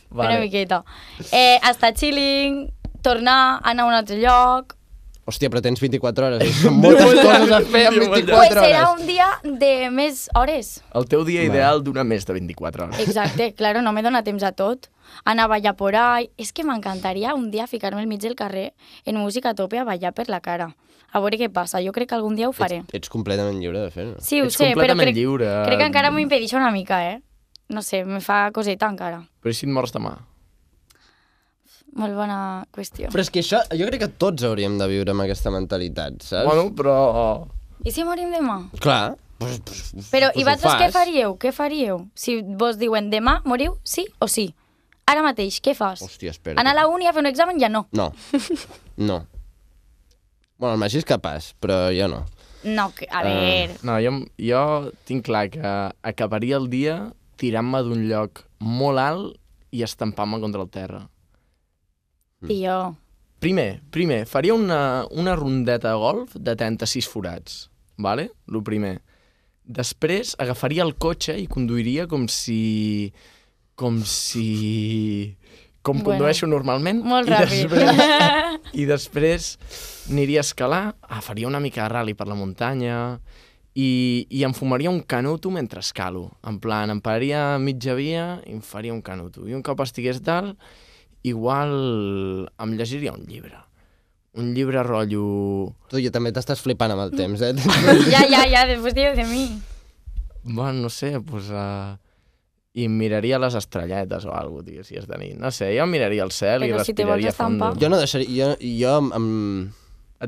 [SPEAKER 3] Vale. Una
[SPEAKER 2] vale.
[SPEAKER 3] miqueta. Eh, estar chilling, tornar, anar a un altre lloc...
[SPEAKER 1] Hòstia, però tens 24 hores. Són moltes coses a fer amb
[SPEAKER 2] Déu me'n
[SPEAKER 1] 24
[SPEAKER 2] Quatre
[SPEAKER 3] Pues
[SPEAKER 1] hores.
[SPEAKER 3] serà un dia de més hores.
[SPEAKER 2] El teu dia ideal dura més de 24
[SPEAKER 3] Eh,
[SPEAKER 2] hores.
[SPEAKER 3] Exacte, claro, no me dóna temps a tot. Anar a ballar por ahí... És que m'encantaria un dia ficar-me al mig del carrer en música a tope a ballar per la cara. A veure què passa, jo crec que algun dia ho faré.
[SPEAKER 1] Ets, ets completament lliure de fer-ho.
[SPEAKER 3] Sí, ho
[SPEAKER 2] Ets
[SPEAKER 3] sé, però
[SPEAKER 2] completament
[SPEAKER 3] crec,
[SPEAKER 2] lliure.
[SPEAKER 3] crec que encara m'ho impedixo una mica, eh? No sé, me fa coseta encara.
[SPEAKER 2] Però i si et mors demà?
[SPEAKER 3] Molt bona qüestió.
[SPEAKER 1] Però és que això, jo crec que tots hauríem de viure amb aquesta mentalitat, saps?
[SPEAKER 2] Bueno, però...
[SPEAKER 3] I si morim demà?
[SPEAKER 1] Clar. Pues, pues,
[SPEAKER 3] Però
[SPEAKER 1] pues Doncs ho
[SPEAKER 3] i vosaltres què
[SPEAKER 1] fas.
[SPEAKER 3] faríeu? Què faríeu? Si vos diuen demà moriu, sí o sí? Ara mateix, què fas?
[SPEAKER 1] Hòstia, espera.
[SPEAKER 3] Anar a la uni a fer un examen ja no.
[SPEAKER 1] No. No. Bueno, el Magí és capaç, però jo no.
[SPEAKER 3] No, que,
[SPEAKER 1] Ah.
[SPEAKER 3] a veure...
[SPEAKER 2] No, jo, jo tinc clar que acabaria el dia tirant-me d'un lloc molt alt i estampant-me contra el terra.
[SPEAKER 3] Tio,
[SPEAKER 2] Primer, primer, faria una, una rondeta de golf de 36 forats, vale? Lo primer. Després agafaria el cotxe i conduiria com si... com si... com
[SPEAKER 3] Bueno.
[SPEAKER 2] condueixo normalment.
[SPEAKER 3] molt
[SPEAKER 2] i
[SPEAKER 3] ràpid.
[SPEAKER 2] Després, I després aniria a escalar, ah, faria una mica de rally per la muntanya i, i em fumaria un canuto mentre escalo. En plan, em pararia a mitja via i em faria un canuto. I un cop estigués dalt, igual em llegiria un llibre. Un llibre rotllo...
[SPEAKER 1] Tu jo també t'estàs flipant amb el temps, eh?
[SPEAKER 3] ja, ja, ja, després dius de mi.
[SPEAKER 2] Bueno, no sé, pues, uh, i miraria les estrelletes o alguna cosa, tio, si és de nit. No sé, jo miraria el cel i
[SPEAKER 3] Però si te vols
[SPEAKER 2] respiraria fondo.
[SPEAKER 3] estampar.
[SPEAKER 1] jo no deixaria... Jo, jo em- em...
[SPEAKER 2] Et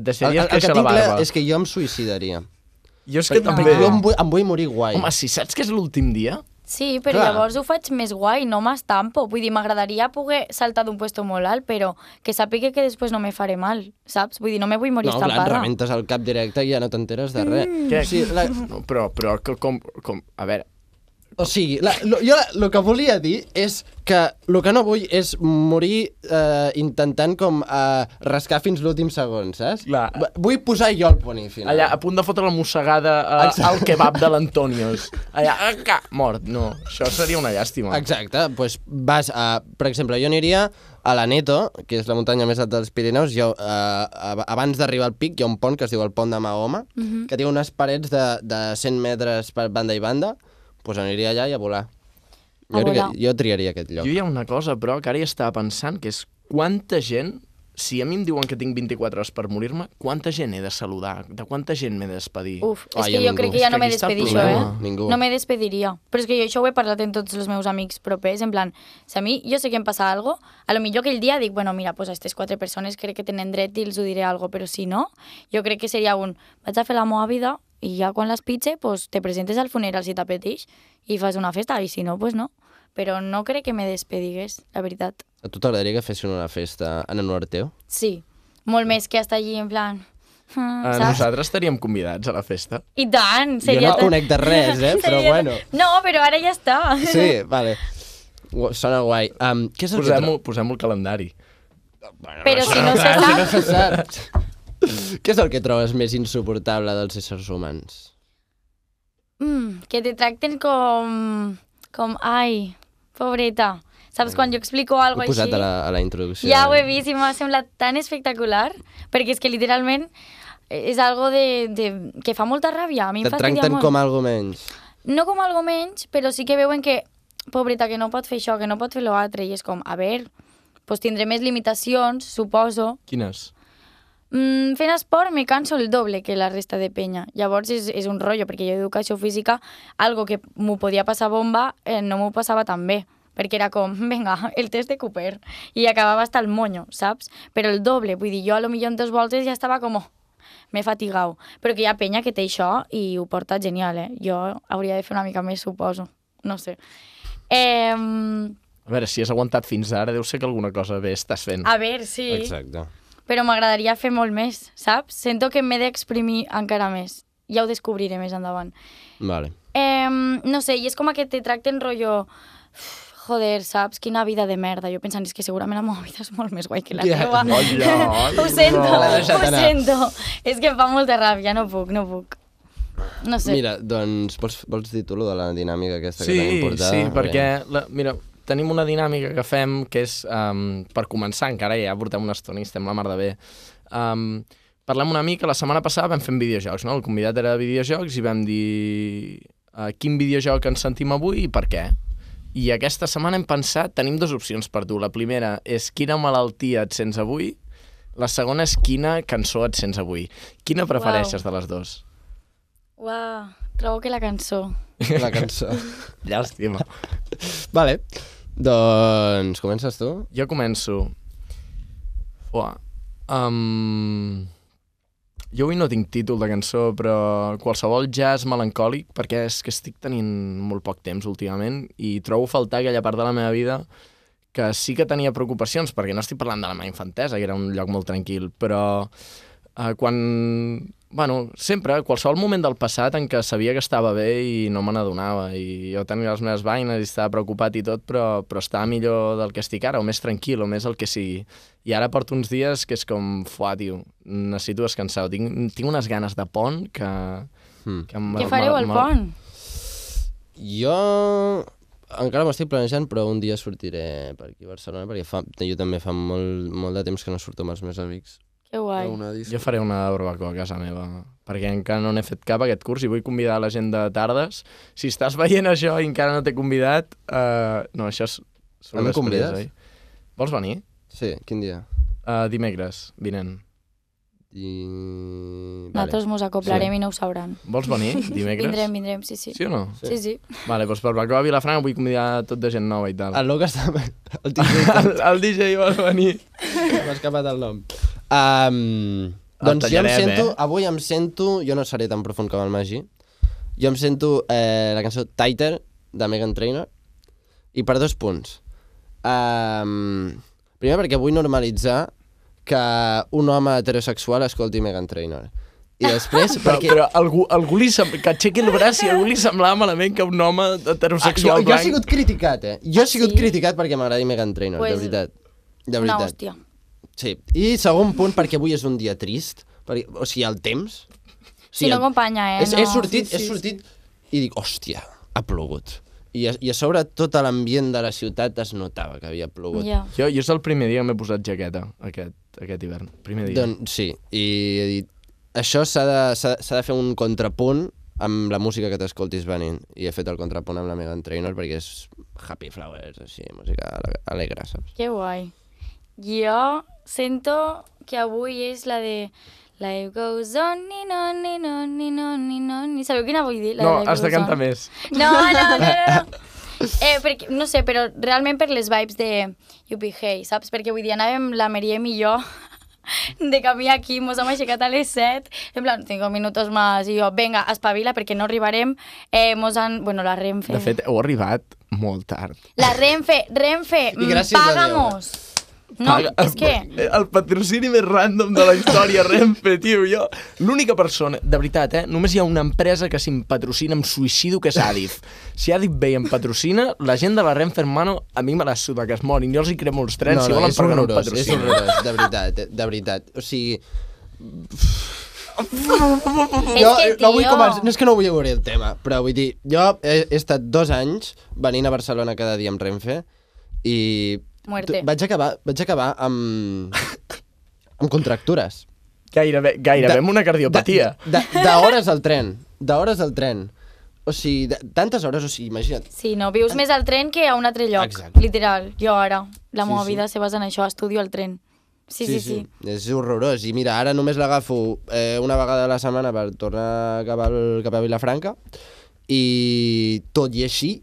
[SPEAKER 1] El, el,
[SPEAKER 2] deixaries
[SPEAKER 1] el que
[SPEAKER 2] créixer
[SPEAKER 1] tinc
[SPEAKER 2] la barba.
[SPEAKER 1] clar és que jo em suïcidaria.
[SPEAKER 2] Jo és que
[SPEAKER 1] Perquè
[SPEAKER 2] també...
[SPEAKER 1] Jo em vull, em vull morir guai.
[SPEAKER 2] Home, si saps que és l'últim dia,
[SPEAKER 3] Sí, però
[SPEAKER 1] Clar.
[SPEAKER 3] llavors ho faig més guai, no m'estampo. Vull dir, m'agradaria poder saltar d'un puesto molt alt, però que sàpiga que després no me faré mal, saps? Vull dir, no me vull morir
[SPEAKER 1] no, clar, et
[SPEAKER 3] estampada.
[SPEAKER 1] rebentes el cap directe i ja no t'enteres de res.
[SPEAKER 2] Mm. Què?
[SPEAKER 1] O sigui, la,
[SPEAKER 2] No, però, però que com, com... A veure,
[SPEAKER 1] o sigui la, lo, jo el que volia dir és que el que no vull és morir eh, intentant com eh, rascar fins l'últim segon, saps?
[SPEAKER 2] Clar.
[SPEAKER 1] V- Vull posar jo el punt i final.
[SPEAKER 2] allà a punt de fotre la mossegada eh, al kebab de l'Antonios. Allà, ah, ca, mort. No, això seria una llàstima.
[SPEAKER 1] Exacte, doncs vas a... Per exemple, jo aniria a la Neto, que és la muntanya més alta dels Pirineus, jo, eh, ab- abans d'arribar al pic hi ha un pont que es diu el pont de Mahoma,
[SPEAKER 3] Mhm.
[SPEAKER 1] que té unes parets de, de 100 metres per banda i banda, doncs aniria allà i a volar. Jo,
[SPEAKER 3] A
[SPEAKER 1] crec
[SPEAKER 3] volar.
[SPEAKER 1] que, jo triaria aquest lloc.
[SPEAKER 2] Jo hi ha una cosa, però, que ara hi estava pensant, que és quanta gent, si a mi em diuen que tinc 24 hores per morir-me, quanta gent he de saludar? De quanta gent m'he de despedir?
[SPEAKER 3] Uf, és
[SPEAKER 1] Ai,
[SPEAKER 3] que
[SPEAKER 1] a
[SPEAKER 3] jo
[SPEAKER 1] ningú.
[SPEAKER 3] crec que
[SPEAKER 2] És
[SPEAKER 3] ja
[SPEAKER 2] que
[SPEAKER 3] no me
[SPEAKER 2] aquí està el
[SPEAKER 3] despedixo, eh?
[SPEAKER 2] problema.
[SPEAKER 1] Ningú.
[SPEAKER 3] No me despediria. Però és que jo això ho he parlat amb tots els meus amics propers, en plan, si a mi, jo sé que em passa algo, a lo millor aquell dia dic, bueno, mira, pues a aquestes quatre persones crec que tenen dret i els ho diré algo, però si no, jo crec que seria un, vaig a fer la meva vida i ja quan les pitge, pues te presentes al funeral si t'apeteix i fas una festa, i si no, pues no. Però no crec que me despedigues, la veritat.
[SPEAKER 1] A tu t'agradaria que fessin una festa en honor teu?
[SPEAKER 3] Sí, molt més que estar allí en plan... "Ah",
[SPEAKER 2] Eh,
[SPEAKER 3] saps?
[SPEAKER 2] nosaltres estaríem convidats a la festa.
[SPEAKER 3] I tant,
[SPEAKER 1] Jo
[SPEAKER 3] seria...
[SPEAKER 1] no
[SPEAKER 3] tan-
[SPEAKER 1] conec de res, eh, però
[SPEAKER 3] Seria-
[SPEAKER 1] bueno.
[SPEAKER 3] No, però ara ja està.
[SPEAKER 1] Sí, vale. Gu- Sona guai. Um, què és el
[SPEAKER 2] Posem-ho posem al calendari.
[SPEAKER 3] Però si no se
[SPEAKER 1] que
[SPEAKER 3] sap...
[SPEAKER 1] tro- Saps? Què és el que trobes més insuportable dels éssers humans?
[SPEAKER 3] Mm, que te tracten com... Com, ai, pobreta. Saps, quan jo explico
[SPEAKER 1] Ho
[SPEAKER 3] alguna
[SPEAKER 1] he
[SPEAKER 3] cosa
[SPEAKER 1] posat
[SPEAKER 3] així...
[SPEAKER 1] a la, a la introducció.
[SPEAKER 3] Ja ho he vist i m'ha semblat tan espectacular, perquè és que literalment és algo de, de, que fa molta ràbia. A mi em
[SPEAKER 1] Te
[SPEAKER 3] fastidia
[SPEAKER 1] tracten
[SPEAKER 3] molt.
[SPEAKER 1] com algo menys.
[SPEAKER 3] no com algo menys, però sí que veuen que, pobreta, que no pot fer això, que no pot fer l'altre, i és com, a veure, doncs tindré més limitacions, suposo,
[SPEAKER 2] Quines?
[SPEAKER 3] Mm, fent esport me canso el doble que la resta de penya. Llavors és, és un rotllo, perquè jo educació física, algo que m'ho podia passar bomba, eh, no m'ho passava tan bé perquè era com, vinga, el test de Cooper, i acabava hasta el moño, saps? Però el doble, vull dir, jo a lo millor en dos voltes ja estava com, oh, m'he fatigau. Però que hi ha penya que té això i ho porta genial, eh? Jo hauria de fer una mica més, suposo. No sé. Eh, a
[SPEAKER 2] A veure, si has aguantat fins ara, deu ser que alguna cosa bé estàs fent.
[SPEAKER 3] veure, sí
[SPEAKER 1] Exacte.
[SPEAKER 3] però m'agradaria fer molt més, saps? Sento que m'he d'exprimir encara més. Ja ho descobriré més endavant.
[SPEAKER 1] Vale.
[SPEAKER 3] Eh, no sé, i és com que te tracten rotllo... "Uf, Joder, saps? Quina vida de merda. Jo pensant, és que segurament la meva vida és molt més guai que la
[SPEAKER 1] Ja.
[SPEAKER 3] teva.
[SPEAKER 2] Olla,
[SPEAKER 3] ho sento,
[SPEAKER 2] no.
[SPEAKER 1] L'ha deixat
[SPEAKER 3] ho
[SPEAKER 1] anar.
[SPEAKER 3] sento. És que em fa molta ràbia, no puc, no puc. No sé.
[SPEAKER 1] Mira, doncs, vols, vols dir tu lo de la dinàmica aquesta que tenim portada?
[SPEAKER 2] Sí, perquè, la, mira, tenim una dinàmica que fem que és, um, per començar, encara ja portem una estona i estem la mar de bé, um, parlem una mica, la setmana passada vam fer videojocs, no? El convidat era de videojocs i vam dir uh, quin videojoc ens sentim avui i per què. I aquesta setmana hem pensat, tenim dues opcions per tu. La primera és quina malaltia et sents avui, la segona és quina cançó et sents avui. Quina prefereixes de les dues?
[SPEAKER 3] Uau, trobo que la cançó.
[SPEAKER 1] La cançó.
[SPEAKER 2] Llàstima.
[SPEAKER 1] vale. Doncs, comences tu?
[SPEAKER 2] Jo començo. Buah. Um, jo avui no tinc títol de cançó, però qualsevol jazz melancòlic, perquè és que estic tenint molt poc temps últimament i trobo a faltar aquella part de la meva vida que sí que tenia preocupacions, perquè no estic parlant de la meva infantesa, que era un lloc molt tranquil, però eh, quan... Bueno, sempre, qualsevol moment del passat en què sabia que estava bé i no me n'adonava, i jo tenia les meves vaines i estava preocupat i tot, però, però estava millor del que estic ara, o més tranquil, o més el que sigui. I ara porto uns dies que és com, fuà, tio, necessito descansar. Tinc, tinc unes ganes de pont que...
[SPEAKER 1] Hmm.
[SPEAKER 2] que me-
[SPEAKER 3] Què fareu
[SPEAKER 2] me-
[SPEAKER 3] al
[SPEAKER 2] me-
[SPEAKER 3] pont?
[SPEAKER 1] Jo encara m'estic planejant, però un dia sortiré per aquí a Barcelona, perquè fa, jo també fa molt, molt de temps que no surto amb els meus amics.
[SPEAKER 3] Que guai.
[SPEAKER 6] Una disco.
[SPEAKER 2] Jo faré una barbacoa a casa meva, perquè encara no n'he fet cap aquest curs i vull convidar la gent de tardes. Si estàs veient això i encara no t'he convidat... Uh, no, això és... surt
[SPEAKER 1] A mi em
[SPEAKER 2] després,
[SPEAKER 1] convides?
[SPEAKER 2] Oi? Vols venir?
[SPEAKER 1] Sí, quin dia?
[SPEAKER 2] Uh, dimecres, vinent.
[SPEAKER 1] I...
[SPEAKER 3] Nosaltres mos acoplarem i no ho sabran.
[SPEAKER 2] Vols venir dimecres?
[SPEAKER 3] Vindrem, vindrem, sí, sí.
[SPEAKER 2] Sí o no?
[SPEAKER 3] Sí, sí.
[SPEAKER 2] Vale, doncs barbacoa a Vilafranca vull convidar tot de gent nova i tal.
[SPEAKER 1] El Luke està... El DJ
[SPEAKER 2] El, el DJ vol venir.
[SPEAKER 1] M'ha escapat el nom. Um, doncs jo em
[SPEAKER 2] tallarem,
[SPEAKER 1] sento,
[SPEAKER 2] eh?
[SPEAKER 1] avui em sento, jo no seré tan profund com el Magí, jo em sento eh, la cançó Tighter de Megan Trainor i per dos punts. Um, primer perquè vull normalitzar que un home heterosexual escolti Megan Trainor. I després
[SPEAKER 2] Però,
[SPEAKER 1] perquè...
[SPEAKER 2] però algú, algú li sem... que aixequi el braç i algú li semblava malament que un home
[SPEAKER 1] Ah, jo,
[SPEAKER 2] heterosexual
[SPEAKER 1] jo he
[SPEAKER 2] blanc...
[SPEAKER 1] sigut criticat, eh? Jo he sigut
[SPEAKER 3] Sí?
[SPEAKER 1] criticat perquè m'agradi Megan Trainor,
[SPEAKER 3] Pues,
[SPEAKER 1] de veritat. De
[SPEAKER 3] Una
[SPEAKER 1] veritat.
[SPEAKER 3] hòstia.
[SPEAKER 1] Sí, i segon punt, perquè avui és un dia trist, perquè, o sigui, el temps... O
[SPEAKER 3] Si no acompanya, eh,
[SPEAKER 1] És, he
[SPEAKER 3] no.
[SPEAKER 1] sortit,
[SPEAKER 3] Sí,
[SPEAKER 1] he
[SPEAKER 3] sí,
[SPEAKER 1] sortit i dic, hòstia, ha plogut. I a, i a sobre tot l'ambient de la ciutat es notava que havia plogut.
[SPEAKER 3] Ja.
[SPEAKER 2] Jo, jo és el primer dia que m'he posat jaqueta, aquest, aquest hivern. Primer dia.
[SPEAKER 1] Doncs sí, i he dit, això s'ha de, s'ha s'ha de fer un contrapunt amb la música que t'escoltis venint. I he fet el contrapunt amb la Megan Trainor perquè és happy flowers, així, música ale- alegre, saps?
[SPEAKER 3] Que guai. Jo sento que avui és la de... Life goes on, ni on, ni on, ni on, ni on... Ni sabeu quina vull dir? La
[SPEAKER 2] No,
[SPEAKER 3] Life
[SPEAKER 2] has de
[SPEAKER 3] Goes
[SPEAKER 2] cantar
[SPEAKER 3] On.
[SPEAKER 2] més.
[SPEAKER 3] No, no, no, no. no. Eh, perquè, no sé, però realment per les vibes de You Be Hey, saps? Perquè vull dir, anàvem la Meriem i jo de camí aquí, mos hem aixecat a les 7, en plan, 5 minuts més, i jo, venga, espavila, perquè no arribarem, eh, mos han... Bueno, la Renfe.
[SPEAKER 2] De fet, heu arribat molt tard.
[SPEAKER 3] La Renfe, Renfe,
[SPEAKER 1] I
[SPEAKER 3] mm,
[SPEAKER 1] gràcies a Déu.
[SPEAKER 3] pagamos. No,
[SPEAKER 2] Paga-
[SPEAKER 3] és que...
[SPEAKER 2] El patrocini més random de la història, Renfe, tio. Jo, l'única persona, de veritat, eh? Només hi ha una empresa que si em patrocina em suïcido, que és Adif. Si Adif ve i em patrocina, la gent de la Renfe, hermano, a mi me la suda, que es morin. Jo els hi cremo els trens, si volen
[SPEAKER 1] és
[SPEAKER 2] perquè no em
[SPEAKER 1] horrorós, és
[SPEAKER 2] patrocina.
[SPEAKER 1] horrorós, de veritat, eh, de veritat. O sigui,
[SPEAKER 3] És
[SPEAKER 1] jo
[SPEAKER 3] que,
[SPEAKER 1] eh, no vull
[SPEAKER 3] tio,
[SPEAKER 1] començar, no és que no vull obrir el tema, però vull dir, jo he, he estat dos anys venint a Barcelona cada dia amb Renfe i
[SPEAKER 3] Muerte.
[SPEAKER 1] tu- vaig acabar, vaig acabar amb, amb contractures.
[SPEAKER 2] Gairebé, gairebé amb una cardiopatia.
[SPEAKER 1] de- D'hores al tren, d'hores al tren. O sigui, de, tantes hores, o sigui, imagina't.
[SPEAKER 3] Sí, no, vius més al tren que a un altre lloc,
[SPEAKER 1] Exacte.
[SPEAKER 3] literal. Jo ara, la
[SPEAKER 1] Sí,
[SPEAKER 3] meva
[SPEAKER 1] sí.
[SPEAKER 3] vida se basa en això, estudio al tren. Sí, sí, sí.
[SPEAKER 1] És horrorós. I mira, ara només l'agafo eh, una vegada a la setmana per tornar cap, al, cap a Vilafranca i tot i així,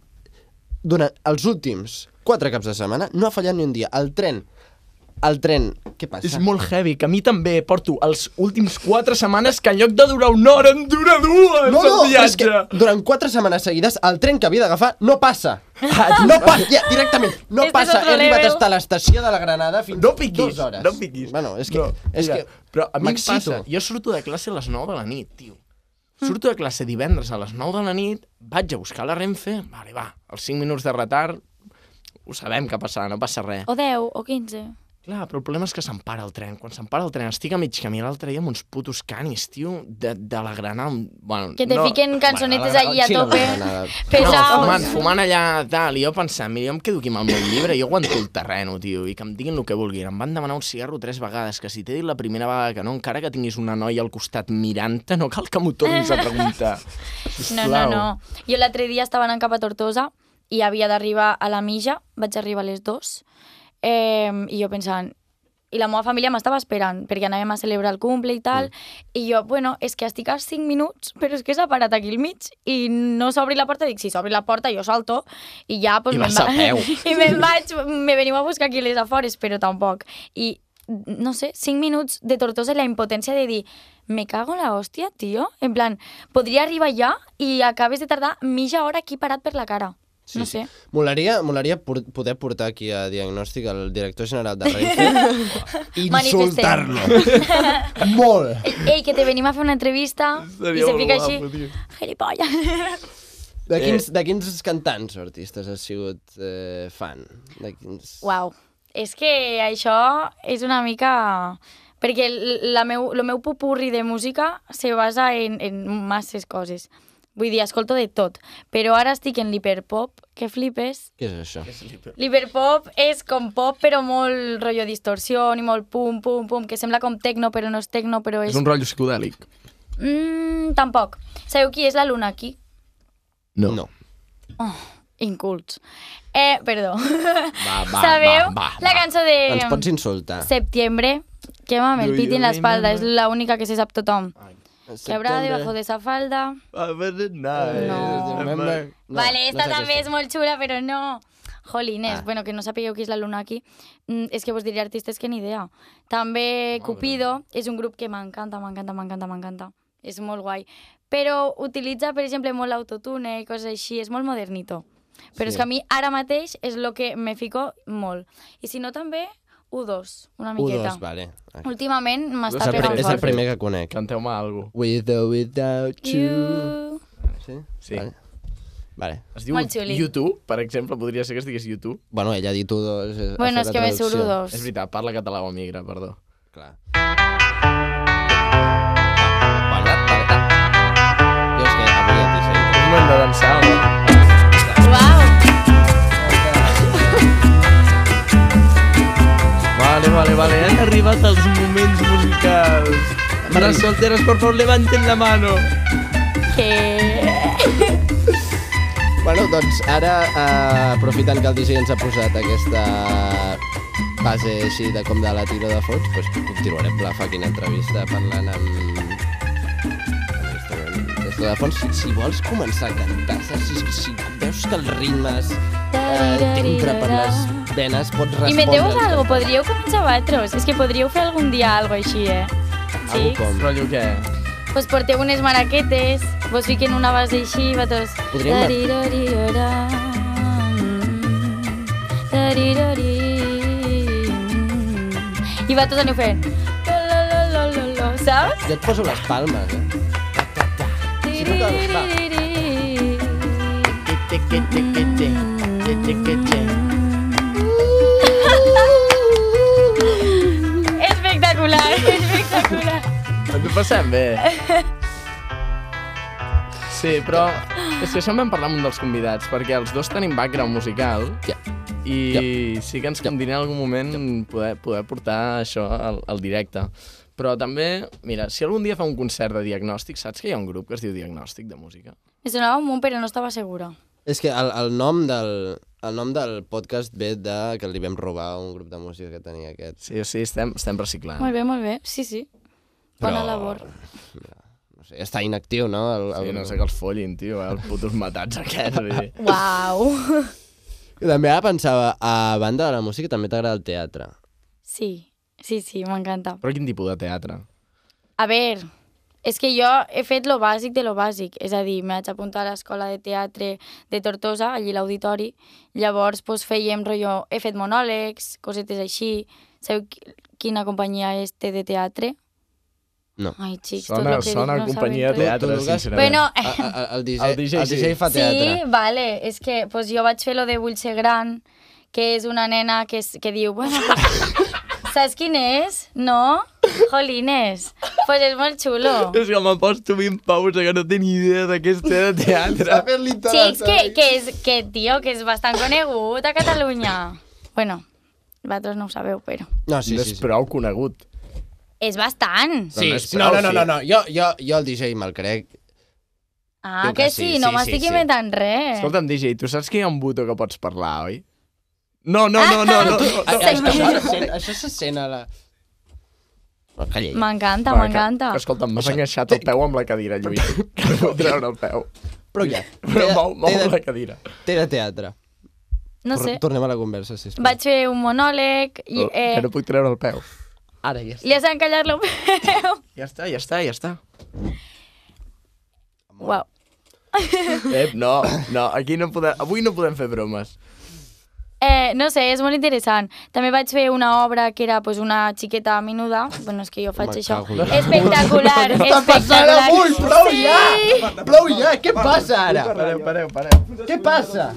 [SPEAKER 1] durant els últims quatre caps de setmana no ha fallat ni un dia. El tren, el tren, què passa?
[SPEAKER 2] És molt heavy, que a mi també porto els últims quatre setmanes que en lloc de durar una hora em dura dues
[SPEAKER 1] No, no,
[SPEAKER 2] el
[SPEAKER 1] però és
[SPEAKER 2] viatge.
[SPEAKER 1] que durant quatre setmanes seguides el tren que havia d'agafar no passa. No passa, ja, directament, no
[SPEAKER 3] Este és
[SPEAKER 1] passa.
[SPEAKER 3] otro
[SPEAKER 1] He arribat a
[SPEAKER 3] level.
[SPEAKER 1] estar a l'estació de la Granada fins
[SPEAKER 2] No piquis,
[SPEAKER 1] dues hores.
[SPEAKER 2] no piquis.
[SPEAKER 1] Bueno, és que...
[SPEAKER 2] No,
[SPEAKER 1] és
[SPEAKER 2] mira,
[SPEAKER 1] que
[SPEAKER 2] però a mi em
[SPEAKER 1] m'excito.
[SPEAKER 2] passa, jo surto de classe a les 9 de la nit, tio. Surto de classe divendres a les 9 de la nit, vaig a buscar la Renfe, vale, va, els 5 minuts de retard, ho sabem que passarà, no passa res.
[SPEAKER 3] O 10, o 15.
[SPEAKER 2] Clar, però el problema és que s'empara el tren. Quan s'empara el tren, estic a mig camí l'altre dia amb uns putos canis, tio, de, de la granada. Bueno,
[SPEAKER 3] Que te
[SPEAKER 2] no...
[SPEAKER 3] fiquen cançonetes allí a
[SPEAKER 1] Sí, no,
[SPEAKER 3] tope.
[SPEAKER 1] no, no, no.
[SPEAKER 3] Pesaos.
[SPEAKER 2] No, fumant, fumant allà, tal, i jo pensant, mira, jo em quedo aquí amb el meu llibre, jo aguanto el terreno, tio, i que em diguin el que vulguin. Em van demanar un cigarro tres vegades, que si t'he dit la primera vegada que no, encara que tinguis una noia al costat mirant-te, no cal que m'ho tornis a preguntar.
[SPEAKER 3] No, no, no. Jo l'altre dia estava anant cap a Tortosa i havia d'arribar a la mitja, vaig arribar a les dues, eh, i jo pensant... I la meva família m'estava esperant, perquè anàvem a celebrar el cumple i tal,
[SPEAKER 2] Mm.
[SPEAKER 3] i jo, bueno, és que estic a 5 minuts, però és que s'ha parat aquí al mig, i no s'obri la porta, dic, si s'obri la porta, jo salto, i ja, pues,
[SPEAKER 2] I
[SPEAKER 3] me'n
[SPEAKER 2] vas a
[SPEAKER 3] va-
[SPEAKER 2] peu.
[SPEAKER 3] I me'n vaig, me veniu a buscar aquí a les afores, però tampoc. I no sé, cinc minuts de Tortosa i la impotència de dir me cago en la hòstia, tio. En plan, podria arribar ja i acabes de tardar mitja hora aquí parat per la cara.
[SPEAKER 1] Sí,
[SPEAKER 3] no
[SPEAKER 1] sí.
[SPEAKER 3] sé.
[SPEAKER 1] Molaria, molaria por poder portar aquí a diagnòstic el director general de Renfe i
[SPEAKER 3] Manifestem.
[SPEAKER 1] insultar-lo. Molt!
[SPEAKER 3] Ei, ei, que te venim a fer una entrevista i se fica així, gilipolles.
[SPEAKER 1] De quins, de quins cantants o artistes has sigut eh, fan? De quins...
[SPEAKER 3] Uau, és que això és una mica... Perquè el, la meu, el meu popurri de música se basa en, en masses coses. Vull dir, escolto de tot. Però ara estic en l'hiperpop, que flipes.
[SPEAKER 1] Què és això?
[SPEAKER 3] L'hiperpop és com pop, però molt rotllo distorsió i molt pum, pum, pum, que sembla com tecno, però no és tecno, però és...
[SPEAKER 2] És un rotllo psicodèlic.
[SPEAKER 3] Mm, tampoc. Sabeu qui és la Luna aquí?
[SPEAKER 2] No.
[SPEAKER 1] No.
[SPEAKER 3] Incults. Eh, perdó.
[SPEAKER 2] Va, va,
[SPEAKER 3] Sabeu
[SPEAKER 2] va, va,
[SPEAKER 3] la
[SPEAKER 2] va.
[SPEAKER 3] cançó de...
[SPEAKER 1] Ens pots insultar.
[SPEAKER 3] Septiembre, que mame el
[SPEAKER 2] Do
[SPEAKER 3] piti
[SPEAKER 2] you
[SPEAKER 3] en la espalda, és
[SPEAKER 2] remember?
[SPEAKER 3] la única que se sap tothom. Que habrá
[SPEAKER 1] Ah, Septiembre.
[SPEAKER 3] debajo de esa falda. No.
[SPEAKER 1] Remember? No,
[SPEAKER 3] vale, esta
[SPEAKER 1] és
[SPEAKER 3] també és
[SPEAKER 1] aquesta.
[SPEAKER 3] molt xula, però no. Jolines,
[SPEAKER 1] Ah.
[SPEAKER 3] bueno, que no sapigueu qui és la Luna aquí, mm, és que vos diré artistes que ni idea. També Cupido és un grup que m'encanta, m'encanta, m'encanta, m'encanta. És molt guai. Però utilitza, per exemple, molt l'autotune i coses així, és molt modernito. Però
[SPEAKER 1] Sí.
[SPEAKER 3] és que a mi ara mateix és el que me fico molt. I si no també, U2, una miqueta.
[SPEAKER 1] U2, vale. Aquí.
[SPEAKER 3] Últimament
[SPEAKER 2] el
[SPEAKER 3] m'està pegant
[SPEAKER 2] primer-
[SPEAKER 1] És el
[SPEAKER 3] fort.
[SPEAKER 1] primer que conec.
[SPEAKER 2] Canteu-me alguna
[SPEAKER 1] With or without you.
[SPEAKER 3] You.
[SPEAKER 1] Sí?
[SPEAKER 2] Sí.
[SPEAKER 1] Vale. vale.
[SPEAKER 2] Es diu
[SPEAKER 3] Molt xuli.
[SPEAKER 2] YouTube, per exemple, podria ser que es digués YouTube.
[SPEAKER 1] Bueno, ella ha dit U2. ha
[SPEAKER 3] Bueno,
[SPEAKER 1] fet
[SPEAKER 3] és
[SPEAKER 1] la
[SPEAKER 3] que me
[SPEAKER 1] traducció.
[SPEAKER 3] suro dos.
[SPEAKER 2] És veritat, parla català o migra, perdó.
[SPEAKER 1] Clar. Jo és que avui ja t'he seguit.
[SPEAKER 2] Un moment de dansar, home.
[SPEAKER 3] Uau!
[SPEAKER 2] Vale, vale, vale, han arribat els moments musicals. Mares solteres, por favor, levanten la mano.
[SPEAKER 3] Que...
[SPEAKER 1] Bueno, doncs ara, eh, aprofitant que el DJ ens ha posat aquesta base així de com de la tira de fons, doncs continuarem la fucking entrevista parlant amb... amb esto, amb Esto de fons, si, si vols començar a cantar, saps? si, si veus que els ritmes eh, t'entra per les venes, pots respondre...
[SPEAKER 3] Inventeu-vos algo, podríeu començar vosaltres. És que podríeu fer algun dia algo així, eh?
[SPEAKER 1] Algo
[SPEAKER 3] Sí?
[SPEAKER 1] com...
[SPEAKER 2] Rotllo què?
[SPEAKER 3] Pues porteu unes maraquetes, vos fiquen una base així, vosaltres...
[SPEAKER 1] Podríem-
[SPEAKER 3] Tarirorirora, tarirori. I vosaltres aneu fent... Lo-lo-lo-lo-lo-lo, Saps?
[SPEAKER 1] Jo et poso les palmes, eh? Si no cal, va.
[SPEAKER 3] Espectacular, espectacular.
[SPEAKER 2] Ens ho passem bé. Sí, però és que això en vam parlar amb un dels convidats, perquè els dos tenim background musical
[SPEAKER 1] Ja.
[SPEAKER 2] i sí que ens convindrà en algun moment poder, poder portar això al, al directe. Però també, mira, si algun dia fa un concert de diagnòstic, saps que hi ha un grup que es diu Diagnòstic de Música?
[SPEAKER 3] Me sonava un munt, però no estava segura.
[SPEAKER 1] És que el, el, nom del, el nom del podcast ve de que li vam robar un grup de música que tenia aquest.
[SPEAKER 2] Sí, o sigui, estem, estem reciclant.
[SPEAKER 3] Molt bé, molt bé. Sí, sí. Bona labor.
[SPEAKER 1] No sé, està inactiu, no? El, el...
[SPEAKER 2] Sí, no sé que els follin, tio, eh, els putos matats aquests. vull dir.
[SPEAKER 3] Uau.
[SPEAKER 1] I també ara pensava, a banda de la música també t'agrada el teatre.
[SPEAKER 3] Sí, sí, sí, m'encanta.
[SPEAKER 2] Però quin tipus de teatre?
[SPEAKER 3] A veure, és que jo he fet lo bàsic de lo bàsic, és a dir, m'he vaig apuntar a l'escola de teatre de Tortosa, allí a l'auditori, llavors pues, fèiem rotllo, he fet monòlegs, cosetes així, sabeu qui- quina companyia és té de teatre?
[SPEAKER 1] No.
[SPEAKER 3] Ai, xics, tot
[SPEAKER 2] Sona,
[SPEAKER 3] el que
[SPEAKER 2] sona
[SPEAKER 3] dic, no
[SPEAKER 2] companyia de
[SPEAKER 3] saben res.
[SPEAKER 1] Tu,
[SPEAKER 2] teatre,
[SPEAKER 1] Lucas?
[SPEAKER 2] sincerament.
[SPEAKER 3] Bueno,
[SPEAKER 1] A, a, a, el, DJ,
[SPEAKER 2] El DJ
[SPEAKER 1] el
[SPEAKER 2] sí.
[SPEAKER 1] DJ Ah, fa teatre.
[SPEAKER 3] Sí, vale, és que pues, jo vaig fer lo de Vull ser gran, que és una nena que, es, que diu, bueno, pues, saps quin és? No? Jolines, pues és molt xulo.
[SPEAKER 2] És que me'n poso 20 paus que no tinc idea de què és fer de teatre.
[SPEAKER 3] Xics, que, que, és, que, tio, que és bastant conegut a Catalunya. Bueno, vosaltres no ho sabeu, però...
[SPEAKER 1] No, sí,
[SPEAKER 2] no
[SPEAKER 1] sí.
[SPEAKER 2] és
[SPEAKER 1] sí.
[SPEAKER 2] prou conegut.
[SPEAKER 3] És bastant.
[SPEAKER 1] Sí,
[SPEAKER 2] no
[SPEAKER 1] no,
[SPEAKER 2] és
[SPEAKER 1] no,
[SPEAKER 2] prou,
[SPEAKER 1] no, no,
[SPEAKER 2] sí.
[SPEAKER 1] no, no. Jo, jo, jo el DJ me'l crec.
[SPEAKER 3] Ah,
[SPEAKER 1] Jo
[SPEAKER 3] que
[SPEAKER 1] que
[SPEAKER 3] sí,
[SPEAKER 1] sí,
[SPEAKER 3] no
[SPEAKER 1] sí,
[SPEAKER 3] m'estic
[SPEAKER 1] sí, sí.
[SPEAKER 3] inventant res.
[SPEAKER 2] Escolta'm, DJ, tu saps que hi ha un botó que pots parlar, oi? No, no, no, no, no. no,
[SPEAKER 1] A,
[SPEAKER 2] no.
[SPEAKER 1] a, això, se sent, això se sent a la... Oh, calla.
[SPEAKER 3] M'encanta,
[SPEAKER 2] Va, que-
[SPEAKER 3] m'encanta.
[SPEAKER 2] que Escolta'm, m'has enganxat el peu amb la cadira, Lluís. Que no puc treure el peu.
[SPEAKER 1] Però ja.
[SPEAKER 2] Però mou, mou la
[SPEAKER 1] té, de,
[SPEAKER 2] cadira.
[SPEAKER 1] té de teatre.
[SPEAKER 3] No
[SPEAKER 1] Tor-
[SPEAKER 3] sé,
[SPEAKER 1] Tornem a la conversa, sisplau.
[SPEAKER 2] Oh,
[SPEAKER 3] vaig fer un monòleg i...
[SPEAKER 2] Que no puc treure el peu. Ara ja està.
[SPEAKER 3] Le has encallado lo peor.
[SPEAKER 2] Ja està, ja està, ja està.
[SPEAKER 3] Wow.
[SPEAKER 2] Ep, no, no, aquí no podem, avui no podem fer bromes.
[SPEAKER 3] Eh, no sé, és molt interessant. També vaig fer una obra que era pues, una xiqueta menuda. Bueno, és que jo faig
[SPEAKER 1] Me
[SPEAKER 3] això.
[SPEAKER 1] cago en la
[SPEAKER 3] Espectacular, espectacular. sí.
[SPEAKER 2] Prou ja! Què passa ara? Pareu, pareu, pareu. Què passa?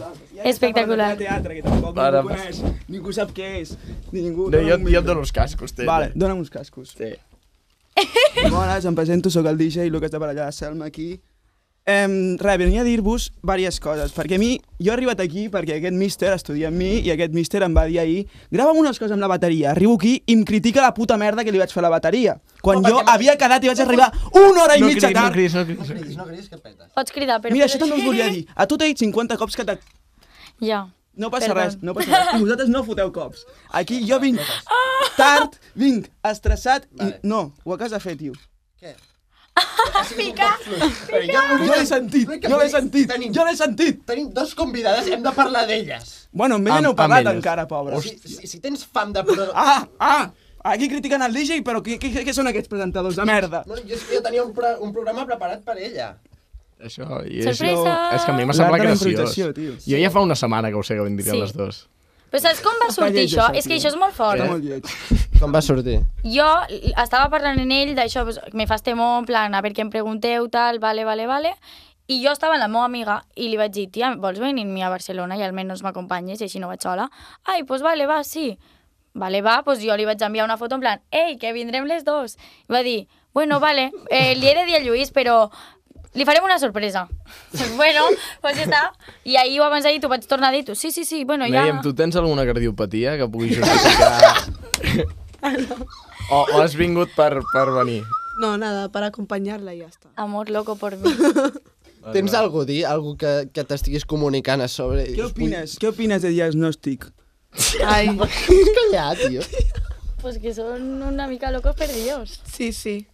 [SPEAKER 3] Espectacular.
[SPEAKER 6] teatre, que tampoc
[SPEAKER 2] Ara
[SPEAKER 6] ningú coneix, ningú sap què és, ni ningú...
[SPEAKER 2] No, jo,
[SPEAKER 6] dona'm
[SPEAKER 2] jo et
[SPEAKER 6] un micro.
[SPEAKER 2] dono eh. els cascos, té.
[SPEAKER 6] Vale, dona'm uns cascos.
[SPEAKER 2] Té.
[SPEAKER 6] Bones, em presento, sóc el DJ Lucas de Barallà, Selma aquí. Em, res, venia a dir-vos diverses coses, perquè a mi, jo he arribat aquí perquè aquest míster estudia amb mi i aquest míster em va dir ahir grava'm unes coses amb la bateria, arribo aquí i em critica la puta merda que li vaig fer a la bateria. Quan jo havia quedat i vaig arribar una hora i
[SPEAKER 2] No
[SPEAKER 6] mitja
[SPEAKER 2] cridis, no
[SPEAKER 6] tard.
[SPEAKER 2] cridis, no cridis.
[SPEAKER 1] No cridis que petes.
[SPEAKER 3] Pots cridar, però...
[SPEAKER 6] Mira, això també us volia dir. A tu t'he dit 50 cops que te...
[SPEAKER 3] Ja.
[SPEAKER 6] No passa
[SPEAKER 3] Perdó.
[SPEAKER 6] res, no passa res. I vosaltres no foteu cops. Aquí jo vinc tard, vinc estressat i... No, ho acabes de fer, tio.
[SPEAKER 3] Pica.
[SPEAKER 7] Però ja
[SPEAKER 1] Ah,
[SPEAKER 6] Jo l'he sentit, jo l'he sentit,
[SPEAKER 7] Tenim,
[SPEAKER 6] jo l'he sentit.
[SPEAKER 7] tenim dos convidades, hem de parlar d'elles.
[SPEAKER 6] Bueno, amb ella
[SPEAKER 2] Amb-
[SPEAKER 6] no heu
[SPEAKER 2] amb
[SPEAKER 6] parlat
[SPEAKER 2] elles.
[SPEAKER 6] encara, pobra.
[SPEAKER 7] Si, si, si tens fam de... Però...
[SPEAKER 6] Ah, ah! Aquí critiquen el DJ, però què, què, què són aquests presentadors de merda?
[SPEAKER 1] Eh?
[SPEAKER 7] No, jo, és que jo tenia un, pro, un programa preparat per ella.
[SPEAKER 2] Això, i és,
[SPEAKER 3] Sorpresa!
[SPEAKER 2] és que a mi m'ha
[SPEAKER 6] L'art
[SPEAKER 2] semblat
[SPEAKER 6] de la
[SPEAKER 2] graciós.
[SPEAKER 6] improvisació, tio.
[SPEAKER 2] Jo ja fa una setmana que ho sé que vindrien
[SPEAKER 3] Sí.
[SPEAKER 2] les dues.
[SPEAKER 3] Però saps com va sortir
[SPEAKER 6] lleig,
[SPEAKER 3] això?
[SPEAKER 6] això,
[SPEAKER 3] És que
[SPEAKER 6] tio.
[SPEAKER 3] això és molt fort.
[SPEAKER 6] Està molt lleig.
[SPEAKER 1] Com va sortir?
[SPEAKER 3] Jo l- estava parlant amb ell d'això, pues, me fas temor, en plan, a veure què em pregunteu, tal, vale, vale, vale. I jo estava amb la meva amiga i li vaig dir, tia, vols venir amb mi a Barcelona i almenys m'acompanyes i així no vaig sola? Ai, doncs pues vale, va, sí. Vale, va, doncs pues jo li vaig enviar una foto en plan, ei, que vindrem les dos. I va dir, bueno, vale, eh, li he de dir a Lluís, però li farem una sorpresa. bueno, doncs pues ja està. I ahir o abans d'ahir t'ho vaig tornar a dir, tu, sí, sí, sí, bueno, ja...
[SPEAKER 2] Nèiem, tu tens alguna cardiopatia que pugui justificar... o, o has vingut per, per venir?
[SPEAKER 4] No, nada, para acompañarla y ya está.
[SPEAKER 3] Amor loco por mi.
[SPEAKER 1] Tens algú a dir? Algú que, que t'estiguis comunicant a sobre?
[SPEAKER 6] Què opines? Què opines de diagnòstic?
[SPEAKER 4] Ay,
[SPEAKER 1] Vull callar, tio.
[SPEAKER 3] Pues que son una mica locos perdidos.
[SPEAKER 4] sí, sí,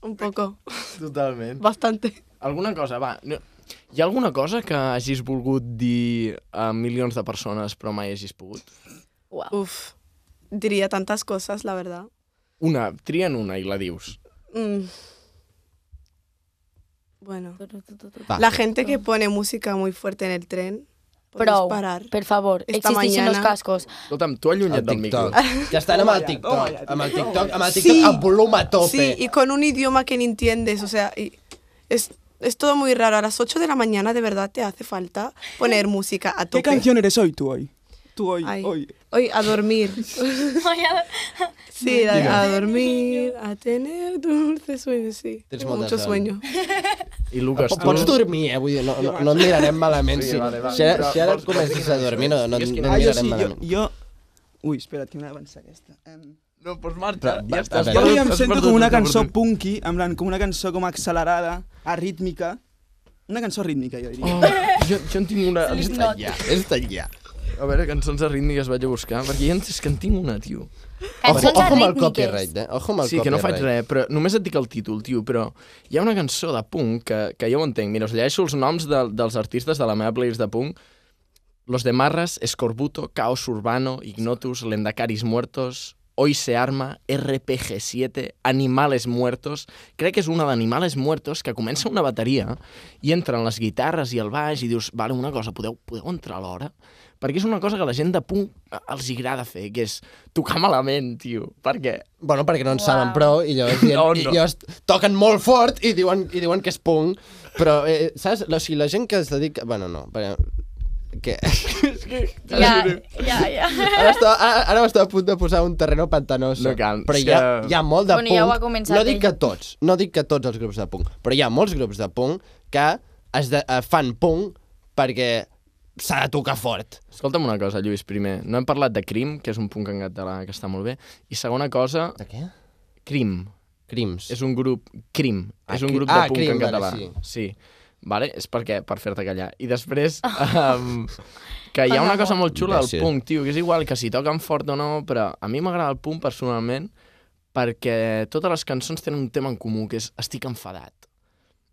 [SPEAKER 4] un poco,
[SPEAKER 2] Totalment.
[SPEAKER 4] bastante.
[SPEAKER 2] Alguna cosa, va. No. Hi ha alguna cosa que hagis volgut dir a milions de persones però mai hagis pogut?
[SPEAKER 3] Wow.
[SPEAKER 4] Uf, diría tantas cosas, la verdad.
[SPEAKER 2] Una, trien una i la dius.
[SPEAKER 4] Mm. Bueno,
[SPEAKER 1] Va.
[SPEAKER 4] la gente que pone música muy fuerte en el tren, podéis
[SPEAKER 3] Prou,
[SPEAKER 4] parar.
[SPEAKER 3] per favor,
[SPEAKER 4] Esta
[SPEAKER 3] existeixen els
[SPEAKER 4] mañana.
[SPEAKER 3] cascos.
[SPEAKER 2] Escolta'm, tu
[SPEAKER 1] El
[SPEAKER 2] allunya't del micro.
[SPEAKER 1] TikTok. Que estan amb el
[SPEAKER 6] toma
[SPEAKER 1] TikTok.
[SPEAKER 6] ja,
[SPEAKER 1] Amb el TikTok, amb el
[SPEAKER 4] Sí.
[SPEAKER 1] TikTok, amb volum a tope.
[SPEAKER 4] Sí, y con un idioma que ni entiendes, o sea, y es, es todo muy raro. A las 8 de la mañana de verdad te hace falta poner música a
[SPEAKER 6] Què
[SPEAKER 4] tope.
[SPEAKER 6] canción eres hoy, tu, hoy? Tu, hoy,
[SPEAKER 4] Ay.
[SPEAKER 6] hoy.
[SPEAKER 4] Hoy a dormir. Sí, a, a dormir, a tener dulces sueños, sí.
[SPEAKER 1] Tienes
[SPEAKER 4] Tengo
[SPEAKER 1] molta
[SPEAKER 4] mucho
[SPEAKER 1] sal.
[SPEAKER 4] sueño.
[SPEAKER 2] I Lucas, tu...
[SPEAKER 1] Pots dormir, eh? Vull dir, no, no, no et mirarem malament.
[SPEAKER 2] Sí,
[SPEAKER 1] si,
[SPEAKER 2] vale, vale.
[SPEAKER 1] si ara,
[SPEAKER 2] Però
[SPEAKER 1] si ara
[SPEAKER 2] vols-
[SPEAKER 1] comences a dormir, no, no, no et
[SPEAKER 2] És que-
[SPEAKER 6] Ah, jo
[SPEAKER 1] mirarem
[SPEAKER 6] sí, jo...
[SPEAKER 1] malament.
[SPEAKER 6] jo... Ui, espera't, que m'he d'avançar aquesta. Em,
[SPEAKER 2] No, doncs marxa.
[SPEAKER 1] Però,
[SPEAKER 2] Ja
[SPEAKER 1] va,
[SPEAKER 2] estàs.
[SPEAKER 1] a
[SPEAKER 6] Jo
[SPEAKER 1] veure.
[SPEAKER 6] avui em
[SPEAKER 2] Has
[SPEAKER 6] sento
[SPEAKER 2] perdut
[SPEAKER 6] com una
[SPEAKER 2] tota
[SPEAKER 6] cançó
[SPEAKER 2] oportunitat.
[SPEAKER 6] punky, en plan, com una cançó com accelerada, arrítmica. Una cançó rítmica, jo diria.
[SPEAKER 2] Oh, jo, jo en tinc una... Està
[SPEAKER 3] Slipknot.
[SPEAKER 2] allà, està allà. A veure, cançons de rítmiques vaig a buscar, perquè ja és que en tinc una, tio.
[SPEAKER 1] Ojo,
[SPEAKER 3] Cançons
[SPEAKER 1] ojo amb el
[SPEAKER 3] arrítmiques.
[SPEAKER 1] copyright, eh? Ojo amb el
[SPEAKER 2] Sí, que no faig
[SPEAKER 1] copyright.
[SPEAKER 2] res, però només et dic el títol, tio, però hi ha una cançó de punk que, que jo ho entenc. Mira, us llegeixo els noms de, dels artistes de la meva playlist de punk. Los de Marras, Escorbuto, Caos Urbano, Ignotus, Lendacaris Muertos, Hoy se arma, RPG7, Animales Muertos. Crec que és una d'Animales Muertos que comença una bateria i entren les guitarres i el baix i dius, vale, una cosa, podeu, podeu entrar alhora? Perquè és una cosa que la gent de punk eh, els hi agrada fer, que és tocar malament, tio. Perquè
[SPEAKER 1] Bueno, perquè no en
[SPEAKER 3] Uau.
[SPEAKER 1] saben prou i llavors, dient, no,
[SPEAKER 2] No, no.
[SPEAKER 1] no. I llavors toquen molt fort i diuen, i diuen que és punk. Però, eh, saps? O sigui, la gent que es dedica... Bueno, no, perquè... Que...
[SPEAKER 3] Ja, ja, ja.
[SPEAKER 1] Ara, estava, ara, ara m'estava a punt de posar un terreno pantanós.
[SPEAKER 2] No cal,
[SPEAKER 1] Però
[SPEAKER 2] és
[SPEAKER 1] hi ha,
[SPEAKER 2] que-
[SPEAKER 1] hi ha molt de
[SPEAKER 3] Bueno,
[SPEAKER 1] punk.
[SPEAKER 3] ja ho ha començat
[SPEAKER 1] no dic
[SPEAKER 3] ell.
[SPEAKER 1] que tots, no dic que tots els grups de punk, però hi ha molts grups de punk que es de, eh, fan punk perquè s'ha de tocar fort.
[SPEAKER 2] Escolta'm una cosa, Lluís, primer. No hem parlat de crim, que és un punt en català que està molt bé. I segona cosa,
[SPEAKER 1] De què?
[SPEAKER 2] crim.
[SPEAKER 1] Crims.
[SPEAKER 2] És un grup... Crim.
[SPEAKER 1] Ah,
[SPEAKER 2] és un
[SPEAKER 1] cri-
[SPEAKER 2] grup
[SPEAKER 1] ah,
[SPEAKER 2] de punk
[SPEAKER 1] crim,
[SPEAKER 2] en
[SPEAKER 1] vale,
[SPEAKER 2] català.
[SPEAKER 1] sí.
[SPEAKER 2] sí. Vale? És perquè, per fer-te callar. I després, um, que hi ha una cosa molt xula del
[SPEAKER 1] Gràcies.
[SPEAKER 2] punk, tio, que és igual que si toquen fort o no, però a mi m'agrada el punk personalment perquè totes les cançons tenen un tema en comú, que és estic enfadat.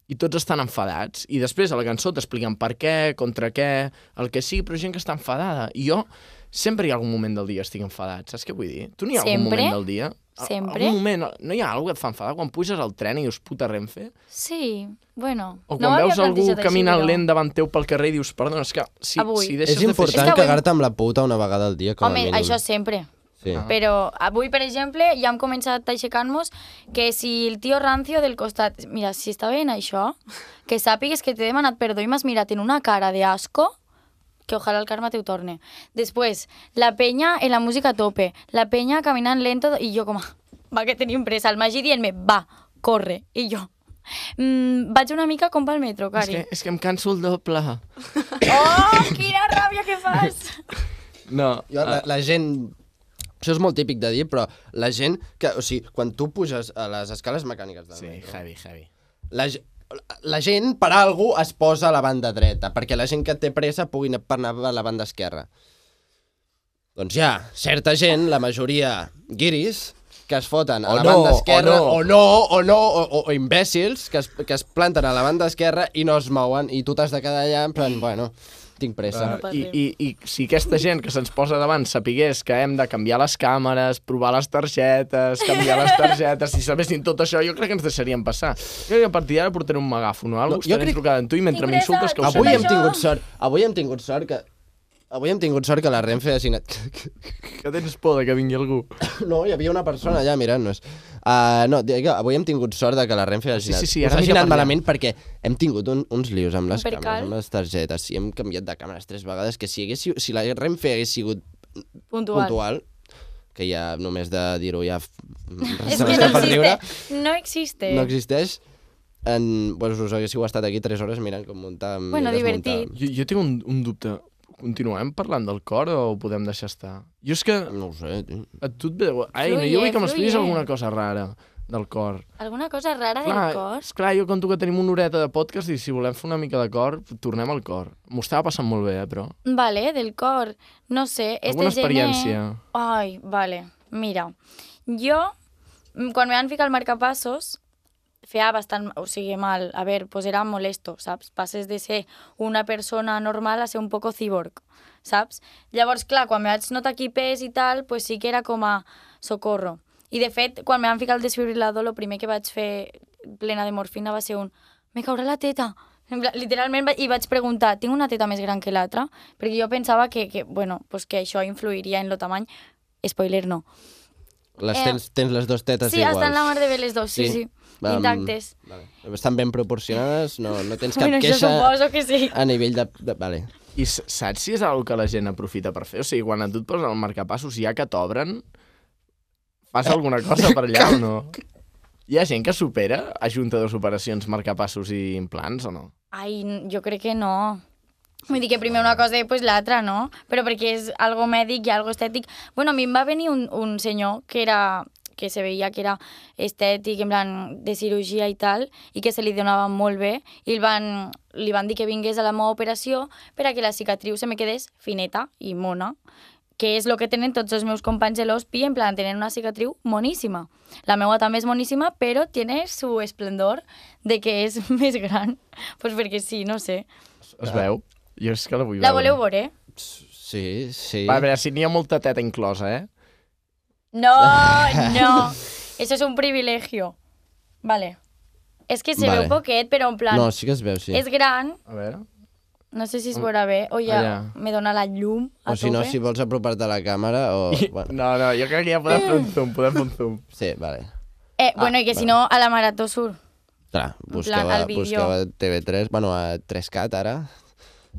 [SPEAKER 2] I tots estan enfadats. I després a la cançó t'expliquen per què, contra què, el que sigui, però gent que està enfadada. I jo sempre hi ha algun moment del dia que estic enfadat, saps què vull dir? Tu n'hi ha algun
[SPEAKER 3] Sempre?
[SPEAKER 2] moment del dia?
[SPEAKER 3] Sempre.
[SPEAKER 2] Un moment, no hi ha alguna que et fa enfadar quan puges al tren i dius puta Renfe?
[SPEAKER 3] Sí, bueno.
[SPEAKER 2] O
[SPEAKER 3] no
[SPEAKER 2] quan
[SPEAKER 3] ho havia
[SPEAKER 2] veus algú
[SPEAKER 3] plantejat així,
[SPEAKER 2] caminant
[SPEAKER 3] però-
[SPEAKER 2] lent davant teu pel carrer i dius, perdona, és que si,
[SPEAKER 3] Avui.
[SPEAKER 2] si
[SPEAKER 1] És
[SPEAKER 2] deixes de
[SPEAKER 3] És
[SPEAKER 1] important
[SPEAKER 3] que
[SPEAKER 2] fer...
[SPEAKER 3] avui-
[SPEAKER 1] cagar-te amb la puta una vegada al dia, com
[SPEAKER 3] Home,
[SPEAKER 1] a mínim.
[SPEAKER 3] això sempre.
[SPEAKER 1] Sí.
[SPEAKER 3] Ah. Però avui, per exemple, ja hem començat a aixecar-nos que si el tio rancio del costat... Mira, si està veient això, que sàpigues que t'he demanat perdó i m'has mirat en una cara de asco que ojalá el karma te ho torne. Després, la penya en la música a tope, la penya caminant lento i jo com... "Ah, Va, que tenim pressa. El Magí dient-me, va, corre. I jo... Mm, vaig una mica com pel metro,
[SPEAKER 2] És
[SPEAKER 3] cari.
[SPEAKER 2] que, és que em canso el doble.
[SPEAKER 3] Oh, quina ràbia que fas!
[SPEAKER 2] No,
[SPEAKER 1] Jo, la, la gent... Això és molt típic de dir, però la gent que... O sigui, quan tu puges a les escales mecàniques del
[SPEAKER 2] sí,
[SPEAKER 1] metro,
[SPEAKER 2] heavy, heavy.
[SPEAKER 1] la, ge- la gent, per algú, es posa a la banda dreta, perquè la gent que té pressa pugui anar per anar a la banda esquerra. Doncs hi ha certa gent, la majoria guiris, que es foten a
[SPEAKER 2] O
[SPEAKER 1] la
[SPEAKER 2] no,
[SPEAKER 1] banda esquerra,
[SPEAKER 2] o
[SPEAKER 1] o no, o no, o, o, o imbècils, que es, que es planten a la banda esquerra i no es mouen, i tu t'has de quedar allà en plan, bueno, tinc pressa.
[SPEAKER 3] no
[SPEAKER 2] I,
[SPEAKER 3] parlem.
[SPEAKER 2] i, I si aquesta gent que se'ns posa davant sapigués que hem de canviar les càmeres, provar les targetes, canviar les targetes, si sabessin tot això, jo crec que ens deixarien passar. Jo crec que a partir d'ara portaré un eh? megàfon o alguna
[SPEAKER 1] No,
[SPEAKER 2] cosa,
[SPEAKER 1] jo
[SPEAKER 2] no, estaré
[SPEAKER 1] crec-
[SPEAKER 2] crec... trucant amb tu i mentre
[SPEAKER 3] Tinc pressa,
[SPEAKER 2] m'insultes que ho
[SPEAKER 3] tinc
[SPEAKER 1] Avui
[SPEAKER 2] sento.
[SPEAKER 1] hem
[SPEAKER 3] això-
[SPEAKER 1] tingut sort, avui hem tingut sort que... Avui hem tingut sort que la Renfe ha signat...
[SPEAKER 2] Que tens por de que vingui algú.
[SPEAKER 1] No, hi havia una persona allà mirant-nos. Uh, no, dic, que avui hem tingut sort de que la Renfe hagi
[SPEAKER 2] Sí,
[SPEAKER 1] anat,
[SPEAKER 2] sí, sí,
[SPEAKER 1] us
[SPEAKER 2] ara
[SPEAKER 1] hagi
[SPEAKER 2] mira
[SPEAKER 1] anat
[SPEAKER 2] per allà.
[SPEAKER 1] malament perquè hem tingut un, uns lius amb les
[SPEAKER 3] Un
[SPEAKER 1] càmeres,
[SPEAKER 3] percal.
[SPEAKER 1] amb les targetes. Sí, hem canviat de càmeres tres vegades, que si, haguéssiu, si la Renfe hagués sigut
[SPEAKER 3] Puntual.
[SPEAKER 1] puntual, que ja només de dir-ho ja... f-
[SPEAKER 3] És
[SPEAKER 1] se
[SPEAKER 3] que
[SPEAKER 1] m'escapa
[SPEAKER 3] no
[SPEAKER 1] el riure,
[SPEAKER 3] existe. No existe.
[SPEAKER 1] no existeix, en, doncs us haguéssiu estat aquí tres hores mirant com muntàvem
[SPEAKER 3] Bueno,
[SPEAKER 1] i desmuntàvem.
[SPEAKER 3] divertit.
[SPEAKER 2] Jo, jo tinc un, un dubte. Continuem parlant del cor o ho podem deixar estar? Jo és que
[SPEAKER 1] No ho sé, tio.
[SPEAKER 2] a tu et ve... Ai, no,
[SPEAKER 3] Fluye,
[SPEAKER 2] jo vull que m'expliquis
[SPEAKER 3] fluye.
[SPEAKER 2] alguna cosa rara del cor.
[SPEAKER 3] Alguna cosa rara del cor?
[SPEAKER 2] és clar, jo conto que tenim una horeta de podcast i si volem fer una mica de cor, tornem al cor. M'ho estava passant molt bé, eh, però...
[SPEAKER 3] Vale, del cor. No sé, este
[SPEAKER 2] Alguna
[SPEAKER 3] gener-
[SPEAKER 2] experiència?
[SPEAKER 3] Ai, vale. Mira, jo, mm, quan me van ficar el marcapassos, feia bastant, o sigui, mal. A veure, pues era molesto, saps? Passes de ser una persona normal a ser un poco cyborg, saps? Llavors, clar, quan me vaig notar aquí pes i tal, pues sí que era com a socorro. I, de fet, quan me van ficar el desfibrilador, el primer que vaig fer plena de morfina va ser un me caurà la teta. En pla- Literalment, va- i vaig preguntar, tinc una teta més gran que l'altra? Perquè jo pensava que, que, bueno, pues que això influiria en lo tamany. Spoiler, no.
[SPEAKER 1] Les
[SPEAKER 3] Eh,
[SPEAKER 1] tens, tens les dues tetes
[SPEAKER 3] sí,
[SPEAKER 1] iguals.
[SPEAKER 3] estan la mar de bé les dues, sí, sí.
[SPEAKER 1] Em,
[SPEAKER 3] Intactes.
[SPEAKER 1] Vale. Estan ben proporcionades, no, no tens cap
[SPEAKER 3] bueno,
[SPEAKER 1] queixa...
[SPEAKER 3] jo suposo que sí.
[SPEAKER 1] A nivell de... de vale.
[SPEAKER 2] I s- saps si és una que la gent aprofita per fer? O sigui, quan a tu et posen el marcapassos, ja que t'obren, fas alguna cosa per allà o no? Hi ha gent que supera a junta dos operacions marcapassos i implants o no?
[SPEAKER 3] Ai, n- jo crec que no. Vull dir que primer una cosa i després l'altra, no? Però perquè és algo mèdic i algo estètic. Bueno, a mi em va venir un, un senyor que era que se veia que era estètic, en plan, de cirurgia i tal, i que se li donava molt bé, i el van, li van dir que vingués a la meva operació per a que la cicatriu se me quedés fineta i mona, que és el que tenen tots els meus companys de l'OSPI, en plan, tenen una cicatriu moníssima. La meva també és moníssima, però tiene su esplendor de que és més gran. pues perquè sí, no sé.
[SPEAKER 2] Es veu? Jo és que la vull
[SPEAKER 3] Ah. La ¿eh?
[SPEAKER 2] veure.
[SPEAKER 3] voleu veure?
[SPEAKER 1] Sí, sí.
[SPEAKER 2] Va, a veure, si n'hi ha molta teta inclosa, eh?
[SPEAKER 3] No, no. Eso es un privilegio. Vale. És que se
[SPEAKER 1] Vale.
[SPEAKER 3] veu poquet, però en plan...
[SPEAKER 1] no, sí que es veu, sí. Mm,
[SPEAKER 3] És gran,
[SPEAKER 2] A veure.
[SPEAKER 3] no sé si es veurà bé, o ja
[SPEAKER 2] Allà.
[SPEAKER 3] me dona la llum a
[SPEAKER 1] ah, O si no,
[SPEAKER 3] tope.
[SPEAKER 1] si vols apropar-te a la càmera o... Bueno,
[SPEAKER 2] No, no, jo crec que ja podem fer un zoom, podem fer un zoom.
[SPEAKER 1] sí, vale. Ah,
[SPEAKER 3] Eh, bueno, i que si no, a la Marató Sur.
[SPEAKER 1] Clar,
[SPEAKER 3] plan,
[SPEAKER 1] busqueu,
[SPEAKER 3] al
[SPEAKER 1] a,
[SPEAKER 3] vídeo.
[SPEAKER 1] busqueu a TV3, bueno, a 3CAT ara.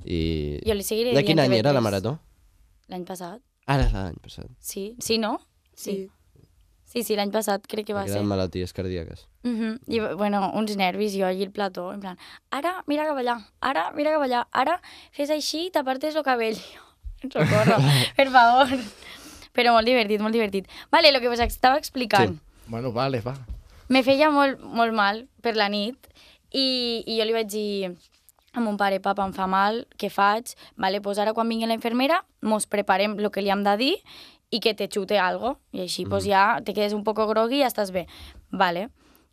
[SPEAKER 1] I...
[SPEAKER 3] Jo li seguiré
[SPEAKER 1] De quin
[SPEAKER 3] dient
[SPEAKER 1] any era
[SPEAKER 3] TV3.
[SPEAKER 1] la Marató?
[SPEAKER 3] L'any passat?
[SPEAKER 1] Ara és l'any passat.
[SPEAKER 3] Sí. Sí, no? Sí. Sí, sí, l'any passat crec que va ser.
[SPEAKER 1] Eren malalties cardíaques.
[SPEAKER 3] Mhm. I, bueno, uns nervis, jo allí al plató, en plan, ara mira cap allà, ara mira cap allà, ara fes així i t'apartes el cabell. Socorro, per favor. Però molt divertit, molt divertit. Vale, lo que vos estava explicant.
[SPEAKER 2] Bueno, vale, va.
[SPEAKER 3] Me feia molt, molt mal per la nit i, i jo li vaig dir a mon pare, papa, em fa mal, què faig? Vale, pues ara quan vingui la infermera mos preparem el que li hem de dir i que te xute algo. I així pues, ja te quedes un poco grogui i ja estàs bé. Vale.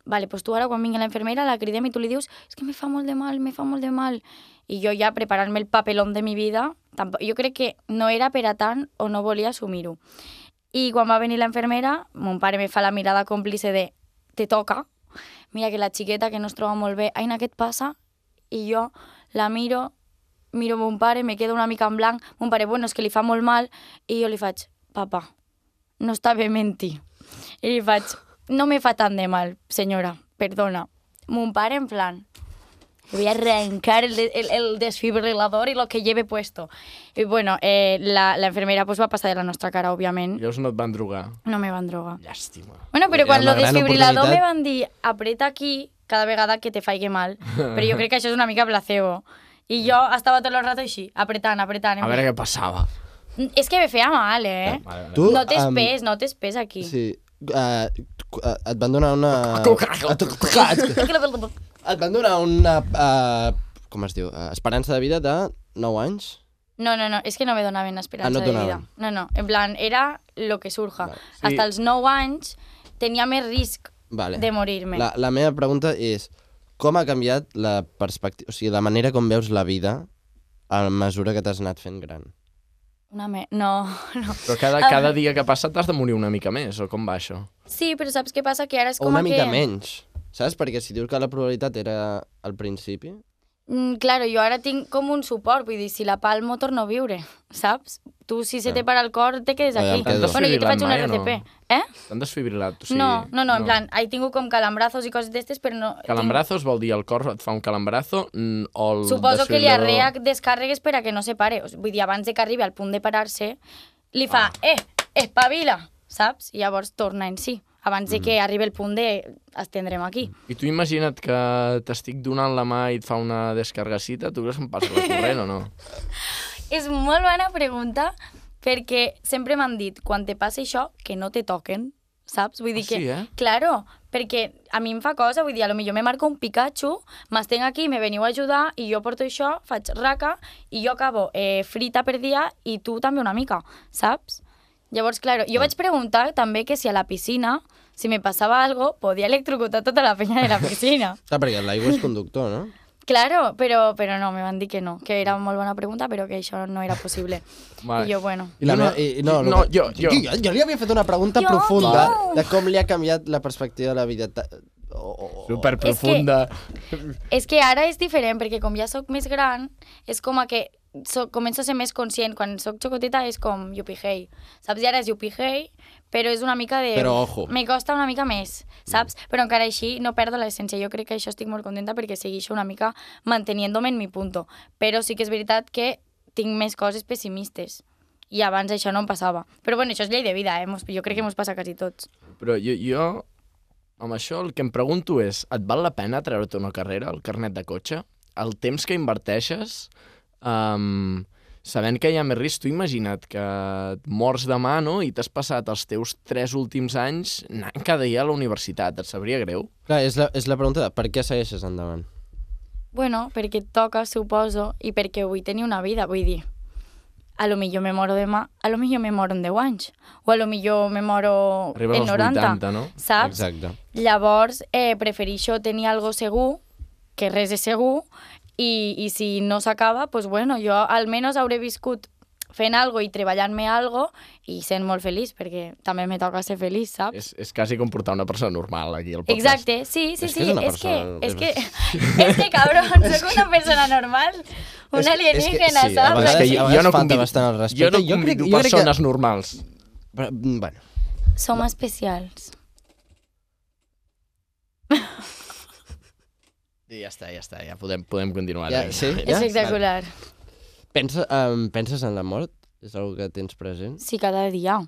[SPEAKER 3] Vale, pues tu ara quan vingui la infermera la cridem i tu li dius és es que me fa molt de mal, me fa molt de mal. I jo ja preparant-me el papelón de mi vida, tampoc, jo crec que no era per a tant o no volia assumir-ho. I quan va venir la infermera, mon pare me fa la mirada còmplice de te toca, mira que la xiqueta que no es troba molt bé, Aina, què et passa? I jo la miro, miro mon pare, me quedo una mica en blanc, mon pare, bueno, és que li fa molt mal, i jo li faig, papa, no està bé mentir. I li faig, no me fa tant de mal, senyora, perdona. Mon pare en plan, Le voy a arrancar el, de- el- el desfibrilador y lo que lleve puesto. Y bueno, eh, la, la enfermera pues va pasar de la nostra cara, obviamente.
[SPEAKER 2] Llavors no et van drogar.
[SPEAKER 3] No me van droga.
[SPEAKER 2] Llàstima.
[SPEAKER 3] Bueno, però quan
[SPEAKER 1] Era
[SPEAKER 3] lo
[SPEAKER 1] una gran
[SPEAKER 3] desfibrilador me
[SPEAKER 1] oportunitat.
[SPEAKER 3] van dir apreta aquí cada vegada que te faigui mal. Però jo crec que això és una mica placebo. I jo estava tot el rato així, apretant, apretant.
[SPEAKER 2] A veure què passava.
[SPEAKER 3] És Mm, que me feia mal, eh?
[SPEAKER 1] Tu,
[SPEAKER 3] no
[SPEAKER 1] em,
[SPEAKER 3] t'espés, no t'espés aquí. Sí.
[SPEAKER 1] Sí. Uh, et van donar una... Et van donar una... Uh, com es diu? Uh, esperança de vida de 9 anys?
[SPEAKER 3] No, no, no, és que no me donaven esperança
[SPEAKER 1] Ah, no et
[SPEAKER 3] de vida.
[SPEAKER 1] donaven.
[SPEAKER 3] No, no, en plan, era lo que surja.
[SPEAKER 1] Vale.
[SPEAKER 3] Sí. Hasta els 9 anys tenia més risc
[SPEAKER 1] Vale.
[SPEAKER 3] de morir-me.
[SPEAKER 1] La, la meva pregunta és com ha canviat la perspectiva, o sigui, la manera com veus la vida a mesura que t'has anat fent gran?
[SPEAKER 3] Una me... No, no.
[SPEAKER 2] Però cada, cada dia que passa t'has de morir una mica més, o com va això?
[SPEAKER 3] Sí, però saps què passa? Que ara és
[SPEAKER 1] O
[SPEAKER 3] com
[SPEAKER 1] una
[SPEAKER 3] que...
[SPEAKER 1] mica menys, saps? Perquè si dius que la probabilitat era al principi... ah,
[SPEAKER 3] Mm, claro, jo ara tinc com un suport, vull dir, si la palmo torno a viure, saps? Tu, si se te para el cor, te quedes
[SPEAKER 1] Vaya,
[SPEAKER 3] aquí.
[SPEAKER 1] em quedo.
[SPEAKER 3] Bueno, jo te faig una
[SPEAKER 2] Mai o no?
[SPEAKER 3] RCP. Eh?
[SPEAKER 2] T'han desfibrilat, o sigui...
[SPEAKER 3] no, no, no, en plan, he tingut com calambrazos i coses d'estes, però no...
[SPEAKER 2] Calambrazos vol dir el cor et fa un calambrazo mm, o el
[SPEAKER 3] tinc- Suposo que li arrea
[SPEAKER 2] desfibrilador-
[SPEAKER 3] descàrregues per a que no se pare. O sigui, Vull dir, abans de que arribi al punt de parar-se, li fa, eh, espavila, saps? I llavors torna en si. Abans de que arribi el punt de... Es tindrem aquí.
[SPEAKER 2] I tu imagina't que t'estic donant la mà i et fa una descargacita, tu creus que em passa la corrent o no?
[SPEAKER 3] És molt bona pregunta perquè sempre m'han dit, quan te passa això, que no te toquen, saps? Vull dir
[SPEAKER 2] Ah,
[SPEAKER 3] que...
[SPEAKER 2] sí, eh?
[SPEAKER 3] Claro, perquè a mi em fa cosa, vull dir, a lo millor me marco un Pikachu, m'estenc aquí, me veniu a ajudar, i jo porto això, faig raca, i jo acabo eh, frita per dia, i tu també una mica, saps? Llavors, claro, jo vaig preguntar també que si a la piscina, si me passava algo, podia electrocutar tota la penya de la piscina.
[SPEAKER 1] Clar, perquè l'aigua és conductor, no?
[SPEAKER 3] Claro, però, però no, me van dir que no, que era molt bona pregunta, però que això no era possible.
[SPEAKER 2] Vale.
[SPEAKER 3] I jo, bueno...
[SPEAKER 1] I la
[SPEAKER 2] Jo no-
[SPEAKER 1] meva, i, no,
[SPEAKER 2] no,
[SPEAKER 1] que-
[SPEAKER 2] jo- jo.
[SPEAKER 1] jo, jo li havia fet una pregunta
[SPEAKER 3] Jo
[SPEAKER 1] profunda
[SPEAKER 3] no.
[SPEAKER 1] de com li ha canviat la perspectiva de la vida. Ta- O, o, o-
[SPEAKER 2] Super
[SPEAKER 3] profunda. És que ara és diferent, perquè com ja sóc més gran, és com a que soc, començo a ser més conscient. Quan sóc xocoteta és com yupihei. Saps? I ara és yupihei, però és una mica de...
[SPEAKER 1] Però ojo.
[SPEAKER 3] Me costa una mica més, saps? Però encara així no perdo l'essència. Jo crec que això estic molt contenta perquè segueixo una mica manteniéndome en mi punto. Però sí que és veritat que tinc més coses pessimistes. I abans això no em passava. Però bueno, això és llei de vida, eh? Mos- Jo crec que mos passa a quasi tots.
[SPEAKER 2] Però jo, jo, amb això, el que em pregunto és, et val la pena treure-te una carrera, el carnet de cotxe? El temps que inverteixes, um, sabent que hi ha més risc, tu imagina't que et mors demà, no?, i t'has passat els teus tres últims anys anant cada dia a la universitat, et sabria greu?
[SPEAKER 1] Clar, és la, és la pregunta de per què segueixes endavant.
[SPEAKER 3] Bueno, perquè et toca, suposo, i perquè vull tenir una vida, vull dir, a lo millor me moro demà, a lo millor me moro en 10 anys, o a lo millor me moro
[SPEAKER 2] Arribes
[SPEAKER 3] en
[SPEAKER 2] als
[SPEAKER 3] 90,
[SPEAKER 2] 80, no?
[SPEAKER 3] saps?
[SPEAKER 1] Exacte.
[SPEAKER 3] Llavors, eh, prefereixo tenir algo segur, que res és segur, i, i si no s'acaba, doncs bueno, jo almenys hauré viscut fent algo i treballant-me algo i sent molt feliç, perquè també me toca ser feliç, saps?
[SPEAKER 2] És, és quasi com portar una persona normal aquí al podcast.
[SPEAKER 3] Exacte, sí, sí,
[SPEAKER 1] És
[SPEAKER 3] sí.
[SPEAKER 1] que és una
[SPEAKER 3] És que,
[SPEAKER 1] persona-
[SPEAKER 3] és que, és que, cabrón, soc una persona normal, un
[SPEAKER 1] És que-
[SPEAKER 3] alienígena,
[SPEAKER 1] és que sí, a
[SPEAKER 3] saps?
[SPEAKER 2] És
[SPEAKER 1] vegades-
[SPEAKER 2] que
[SPEAKER 1] A
[SPEAKER 2] jo, jo
[SPEAKER 1] vegades
[SPEAKER 2] no
[SPEAKER 1] falta
[SPEAKER 2] convido,
[SPEAKER 1] bastant al
[SPEAKER 2] jo
[SPEAKER 1] respecte.
[SPEAKER 2] no
[SPEAKER 1] Jo crec- jo
[SPEAKER 2] convido
[SPEAKER 1] crec que-
[SPEAKER 2] persones normals.
[SPEAKER 1] Però, mm, bueno,
[SPEAKER 3] Som especials.
[SPEAKER 2] I ja està, ja està, ja podem, podem continuar.
[SPEAKER 1] ja, sí? Ja?
[SPEAKER 3] És espectacular.
[SPEAKER 1] Pensa, um, penses en la mort? És una que tens present?
[SPEAKER 3] Sí, cada dia.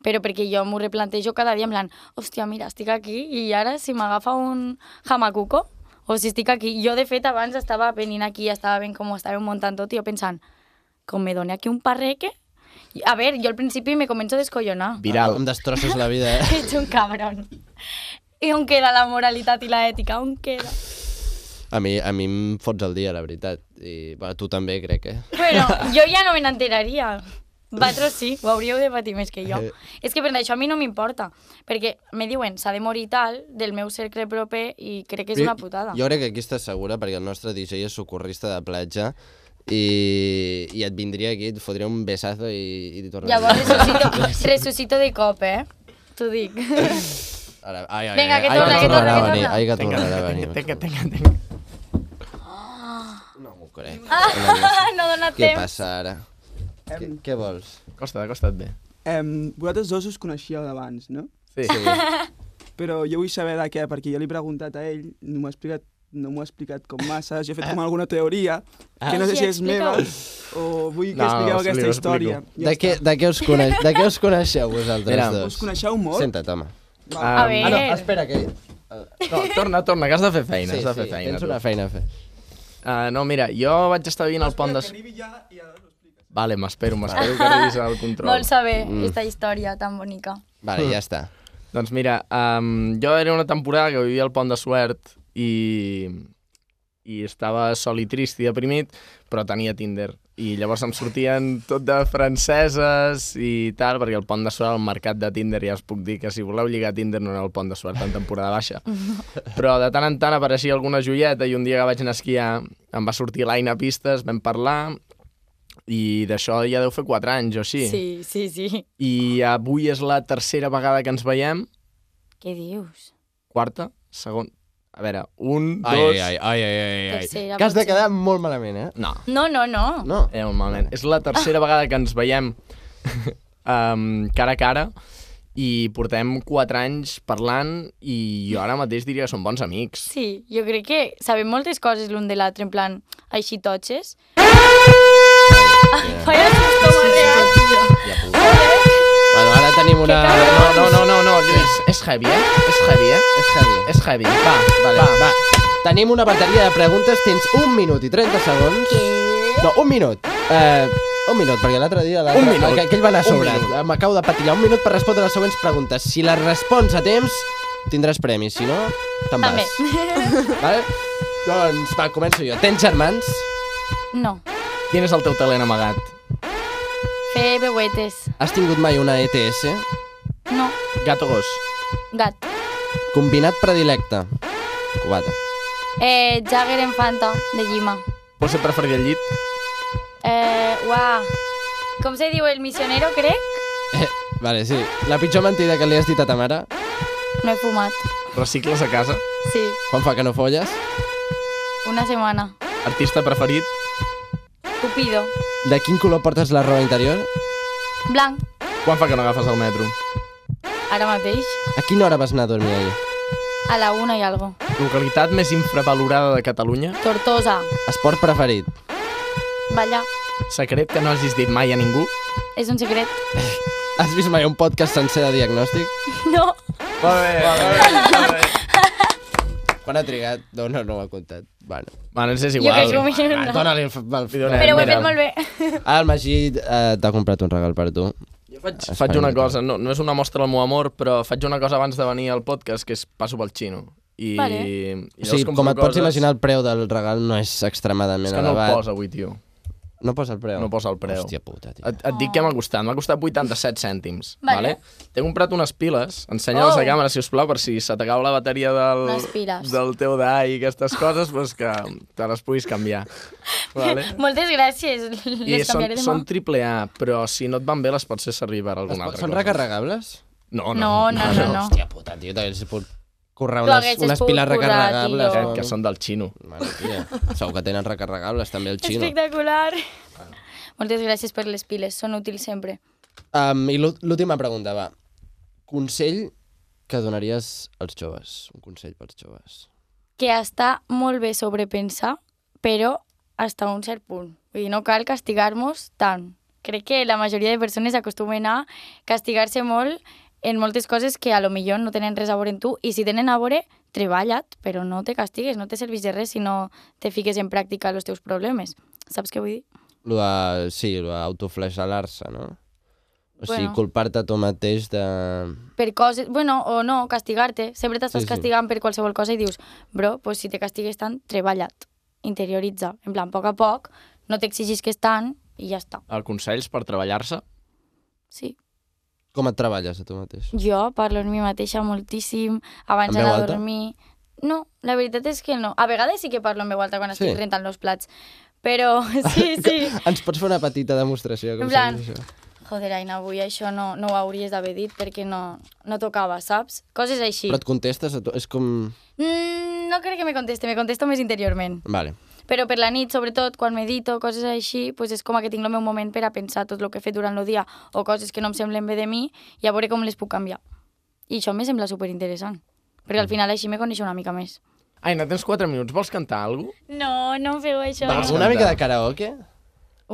[SPEAKER 3] Però perquè jo m'ho replantejo cada dia en plan, hòstia, mira, estic aquí i ara si m'agafa un jamacuco o si estic aquí. Jo, de fet, abans estava venint aquí, estava veient com ho estàvem muntant tot i jo pensant, com me doni aquí un parreque... A veure, jo al principi me començo a descollonar.
[SPEAKER 2] Viral.
[SPEAKER 1] Em destrosses la vida, eh?
[SPEAKER 3] Ets un cabrón. I on queda la moralitat i la ètica? On queda?
[SPEAKER 1] A mi, a mi em fots el dia, la veritat. I bueno, tu també, crec, eh?
[SPEAKER 3] Bueno, jo ja no me n'enteraria. Vatros sí, ho hauríeu de patir més que jo.
[SPEAKER 1] Eh.
[SPEAKER 3] És que per això a mi no m'importa, perquè me diuen s'ha de morir tal del meu cercle proper i crec que és una putada.
[SPEAKER 1] Jo crec que aquí estàs segura perquè el nostre DJ és socorrista de platja i, i et vindria aquí, et fotria un besazo i, i t'hi tornaria.
[SPEAKER 3] Llavors ressuscito, ressuscito de cop, eh? T'ho dic.
[SPEAKER 1] Ara, ai, ai,
[SPEAKER 3] Vinga,
[SPEAKER 1] ai,
[SPEAKER 3] que
[SPEAKER 1] ai,
[SPEAKER 3] torna, que
[SPEAKER 1] tornarà
[SPEAKER 3] torna,
[SPEAKER 1] a
[SPEAKER 3] que
[SPEAKER 1] venir,
[SPEAKER 3] torna.
[SPEAKER 1] Ai, que
[SPEAKER 2] Tenga,
[SPEAKER 1] tornarà a venir.
[SPEAKER 2] tenga, tenga, tenga, tenga.
[SPEAKER 1] No m'ho crec.
[SPEAKER 3] no dona
[SPEAKER 1] Què
[SPEAKER 3] temps.
[SPEAKER 1] passa ara? Què, què vols?
[SPEAKER 2] Costa, costa't bé.
[SPEAKER 6] Em, vosaltres dos us coneixíeu d'abans, no?
[SPEAKER 2] Sí.
[SPEAKER 6] Però jo vull saber de què, perquè jo li he preguntat a ell, no m'ho ha explicat no m'ho ha explicat com massa, jo he fet com alguna teoria, que no sé
[SPEAKER 3] Ai,
[SPEAKER 6] si és
[SPEAKER 3] explica-ho.
[SPEAKER 6] meva, o vull que
[SPEAKER 2] No,
[SPEAKER 6] expliqueu
[SPEAKER 2] no, sí,
[SPEAKER 6] aquesta
[SPEAKER 2] ho
[SPEAKER 6] història. Ja
[SPEAKER 1] De què, de, què us coneix, de què us coneixeu vosaltres
[SPEAKER 2] Mira,
[SPEAKER 1] dos?
[SPEAKER 6] Us coneixeu molt?
[SPEAKER 1] Senta't, home.
[SPEAKER 3] A
[SPEAKER 2] Ah,
[SPEAKER 1] Ah, no,
[SPEAKER 3] veure,
[SPEAKER 1] espera, que...
[SPEAKER 2] No, torna, torna, que has de fer feina, has de fer feina.
[SPEAKER 1] tens
[SPEAKER 2] tu.
[SPEAKER 1] una feina a fer.
[SPEAKER 2] Ah, no, mira, jo vaig estar vivint al pont de... Vale, m'espero, m'espero que arribis al control.
[SPEAKER 3] vol saber
[SPEAKER 1] Mm.
[SPEAKER 3] aquesta història tan bonica.
[SPEAKER 1] Vale, ja està.
[SPEAKER 2] Doncs mira, um, jo era una temporada que vivia al Pont de Suert i, i estava sol i trist i deprimit, però tenia Tinder. I llavors em sortien tot de franceses i tal, perquè el Pont de Suert, el mercat de Tinder, ja us puc dir que si voleu lligar a Tinder no aneu al Pont de Suert en temporada baixa. Però de tant en tant apareixia alguna joieta i un dia que vaig anar a esquiar em va sortir l'Aina a pistes, vam parlar i d'això ja deu fer 4 anys o així.
[SPEAKER 3] Sí, sí, sí.
[SPEAKER 2] I avui és la tercera vegada que ens veiem
[SPEAKER 3] Què dius?
[SPEAKER 2] quarta, segon... A veure, un,
[SPEAKER 1] Ai,
[SPEAKER 2] dos...
[SPEAKER 1] ai, ai, ai, ai, ai.
[SPEAKER 3] Tercera,
[SPEAKER 1] Que has de
[SPEAKER 3] potser.
[SPEAKER 1] quedar molt malament, eh?
[SPEAKER 2] No,
[SPEAKER 3] No, no, no.
[SPEAKER 1] No.
[SPEAKER 2] eh, un moment. És la tercera vegada que ens veiem um, cara a cara i portem quatre anys parlant i jo ara mateix diria que som bons amics.
[SPEAKER 3] Sí, jo crec que sabem moltes coses l'un de l'altre, en plan, així totxes.
[SPEAKER 2] Ah!
[SPEAKER 3] Falla susto, madre.
[SPEAKER 1] Ja puc. Bueno, ara tenim una...
[SPEAKER 2] No, Ah, no, no, no, no, Lluís, és heavy, eh? És heavy, eh?
[SPEAKER 1] És heavy.
[SPEAKER 2] És heavy. Va,
[SPEAKER 1] Vale,
[SPEAKER 2] va,
[SPEAKER 1] va, va. Tenim una bateria de preguntes, tens un minut i 30 segons. No, un minut. Eh, un minut, perquè l'altre dia... l'altre-
[SPEAKER 2] Un minut.
[SPEAKER 1] Aquell va anar
[SPEAKER 2] Un
[SPEAKER 1] sobrat.
[SPEAKER 2] minut.
[SPEAKER 1] M'acabo de patillar. Un minut per respondre les següents preguntes. Si les respons a temps, tindràs premis. Si no, te'n
[SPEAKER 3] També.
[SPEAKER 1] vas. Vale? Doncs va, començo jo. Tens germans?
[SPEAKER 3] No,
[SPEAKER 2] Quin és el teu talent amagat?
[SPEAKER 3] fer veuetes.
[SPEAKER 1] Has tingut mai una E ETS?
[SPEAKER 3] No,
[SPEAKER 2] Gat o gos?
[SPEAKER 3] gat.
[SPEAKER 1] Combinat predilecte? Cubata.
[SPEAKER 3] Eh, Jagger en Fanta, de Llima.
[SPEAKER 2] Pot ser preferir al llit?
[SPEAKER 3] Eh, uah. Com se diu el missionero, crec?
[SPEAKER 1] Eh, vale, sí. La pitjor mentida que li has dit a ta mare?
[SPEAKER 3] No he fumat.
[SPEAKER 2] Recicles a casa?
[SPEAKER 3] Sí,
[SPEAKER 1] Quan fa que no folles?
[SPEAKER 3] una setmana.
[SPEAKER 2] Artista preferit?
[SPEAKER 3] Cupido.
[SPEAKER 1] De quin color portes la roba interior?
[SPEAKER 3] Blanc.
[SPEAKER 2] Quan fa que no agafes el metro?
[SPEAKER 3] Ara mateix,
[SPEAKER 1] A quina hora vas anar a dormir ahir?
[SPEAKER 3] a la una i algo.
[SPEAKER 2] Localitat més infravalorada de Catalunya?
[SPEAKER 3] Tortosa,
[SPEAKER 1] Esport preferit?
[SPEAKER 3] ballar.
[SPEAKER 2] Secret que no hagis dit mai a ningú?
[SPEAKER 3] És un secret.
[SPEAKER 1] Has vist mai un podcast sencer de diagnòstic?
[SPEAKER 3] No.
[SPEAKER 2] Molt bé, molt bé.
[SPEAKER 1] Quan ha trigat? No, no, no ho ha comptat. Bueno.
[SPEAKER 2] Bueno, ens és
[SPEAKER 3] Jo
[SPEAKER 2] igual.
[SPEAKER 3] crec que ho millor no.
[SPEAKER 1] Ah, Dóna-li el... f- el f-
[SPEAKER 2] donem.
[SPEAKER 3] Però ho he
[SPEAKER 2] Mira.
[SPEAKER 3] fet molt bé.
[SPEAKER 1] Ara el Magí eh, t'ha comprat un regal per tu.
[SPEAKER 2] Jo faig,
[SPEAKER 1] Espanya
[SPEAKER 2] faig una
[SPEAKER 1] també.
[SPEAKER 2] cosa, no, no és una mostra del meu amor, però faig una cosa abans de venir al podcast, que és passo pel xino. I,
[SPEAKER 3] Vale.
[SPEAKER 2] i
[SPEAKER 1] O
[SPEAKER 2] llavors
[SPEAKER 1] sigui,
[SPEAKER 2] compro
[SPEAKER 1] com et pots
[SPEAKER 2] coses-
[SPEAKER 1] imaginar, el preu del regal no és
[SPEAKER 2] És
[SPEAKER 1] extremadament
[SPEAKER 2] que no el
[SPEAKER 1] elevat.
[SPEAKER 2] posa avui, tio.
[SPEAKER 1] No posa el preu?
[SPEAKER 2] No posa el preu.
[SPEAKER 1] Hòstia puta, tio.
[SPEAKER 2] Et, et dic què m'ha costat. M'ha costat 87 cèntims.
[SPEAKER 3] Vale.
[SPEAKER 2] Vale. T'he comprat unes piles. Ensenya-les
[SPEAKER 3] Oh.
[SPEAKER 2] a càmera, si us plau, per si se t'acaba la bateria del,
[SPEAKER 3] Unes piles.
[SPEAKER 2] del teu DAI i aquestes coses, doncs que te les puguis canviar. Vale.
[SPEAKER 3] Moltes gràcies.
[SPEAKER 2] I
[SPEAKER 3] Les
[SPEAKER 2] són,
[SPEAKER 3] canviaré demà.
[SPEAKER 2] són triple A, però si no et van bé les pots fer servir per alguna altra
[SPEAKER 1] Són
[SPEAKER 2] cosa.
[SPEAKER 1] recarregables? Ah,
[SPEAKER 2] No,
[SPEAKER 3] No, no, no, no.
[SPEAKER 1] Hòstia puta, tio, també s'hi pot currar
[SPEAKER 3] Tu
[SPEAKER 1] unes,
[SPEAKER 3] haguessis
[SPEAKER 1] unes
[SPEAKER 3] pogut
[SPEAKER 1] piles
[SPEAKER 3] currar,
[SPEAKER 1] recarregables.
[SPEAKER 3] tio.
[SPEAKER 2] Eh, Que, que són del xino.
[SPEAKER 1] Mare, tia, segur que tenen recarregables també el xino.
[SPEAKER 3] Espectacular. Moltes gràcies per les piles, són útils sempre.
[SPEAKER 1] Um, I l'ú- l'última pregunta, va. Consell que donaries als joves? Un consell pels joves.
[SPEAKER 3] Que està molt bé sobrepensar, però hasta un cert punt. Vull dir, no cal castigar-nos tant. Crec que la majoria de persones acostumen a castigar-se molt en moltes coses que a lo millor no tenen res a veure en tu i si tenen a veure, treballa't, però no te castigues, no te serveix de res si no te fiques en pràctica els teus problemes. Saps què vull dir?
[SPEAKER 1] Lo de, sí, lo d'autoflagelar-se, no? O sigui,
[SPEAKER 3] Bueno.
[SPEAKER 1] culpar-te a tu mateix de...
[SPEAKER 3] per coses, bueno, o no, castigar-te. Sempre t'estàs
[SPEAKER 1] Sí, sí.
[SPEAKER 3] sí, sí. castigant per qualsevol cosa i dius, bro, pues si te castigues tant, treballa't, interioritza. En plan, a poc a poc, no t'exigis que és tant i ja està.
[SPEAKER 2] El consells per treballar-se?
[SPEAKER 3] Sí.
[SPEAKER 1] Com et treballes a tu mateix?
[SPEAKER 3] Jo parlo amb mi mateixa moltíssim, abans
[SPEAKER 1] En veu
[SPEAKER 3] d'anar a
[SPEAKER 1] alta?
[SPEAKER 3] dormir... No, la veritat és que no. A vegades sí que parlo en veu alta quan
[SPEAKER 1] Sí.
[SPEAKER 3] estic rentant els plats, Però sí, sí.
[SPEAKER 1] Ens pots fer una petita demostració? Com
[SPEAKER 3] En plan,
[SPEAKER 1] saps això?
[SPEAKER 3] joder, Aina, avui això no, no ho hauries d'haver dit perquè no, no tocava, saps? Coses així.
[SPEAKER 1] Però et contestes a tu? És com...
[SPEAKER 3] Mm, no crec que me conteste, me contesto més interiorment.
[SPEAKER 1] Vale.
[SPEAKER 3] Però per la nit, sobretot, quan medito, coses així, pues és com que tinc el meu moment per a pensar tot el que he fet durant el dia o coses que no em semblen bé de mi i a veure com les puc canviar. I això me sembla superinteressant, perquè al final així me coneixo una mica més.
[SPEAKER 2] Aina, tens 4 minuts. Vols cantar alguna cosa?
[SPEAKER 3] No, no feu això.
[SPEAKER 1] Va, una mica de karaoke?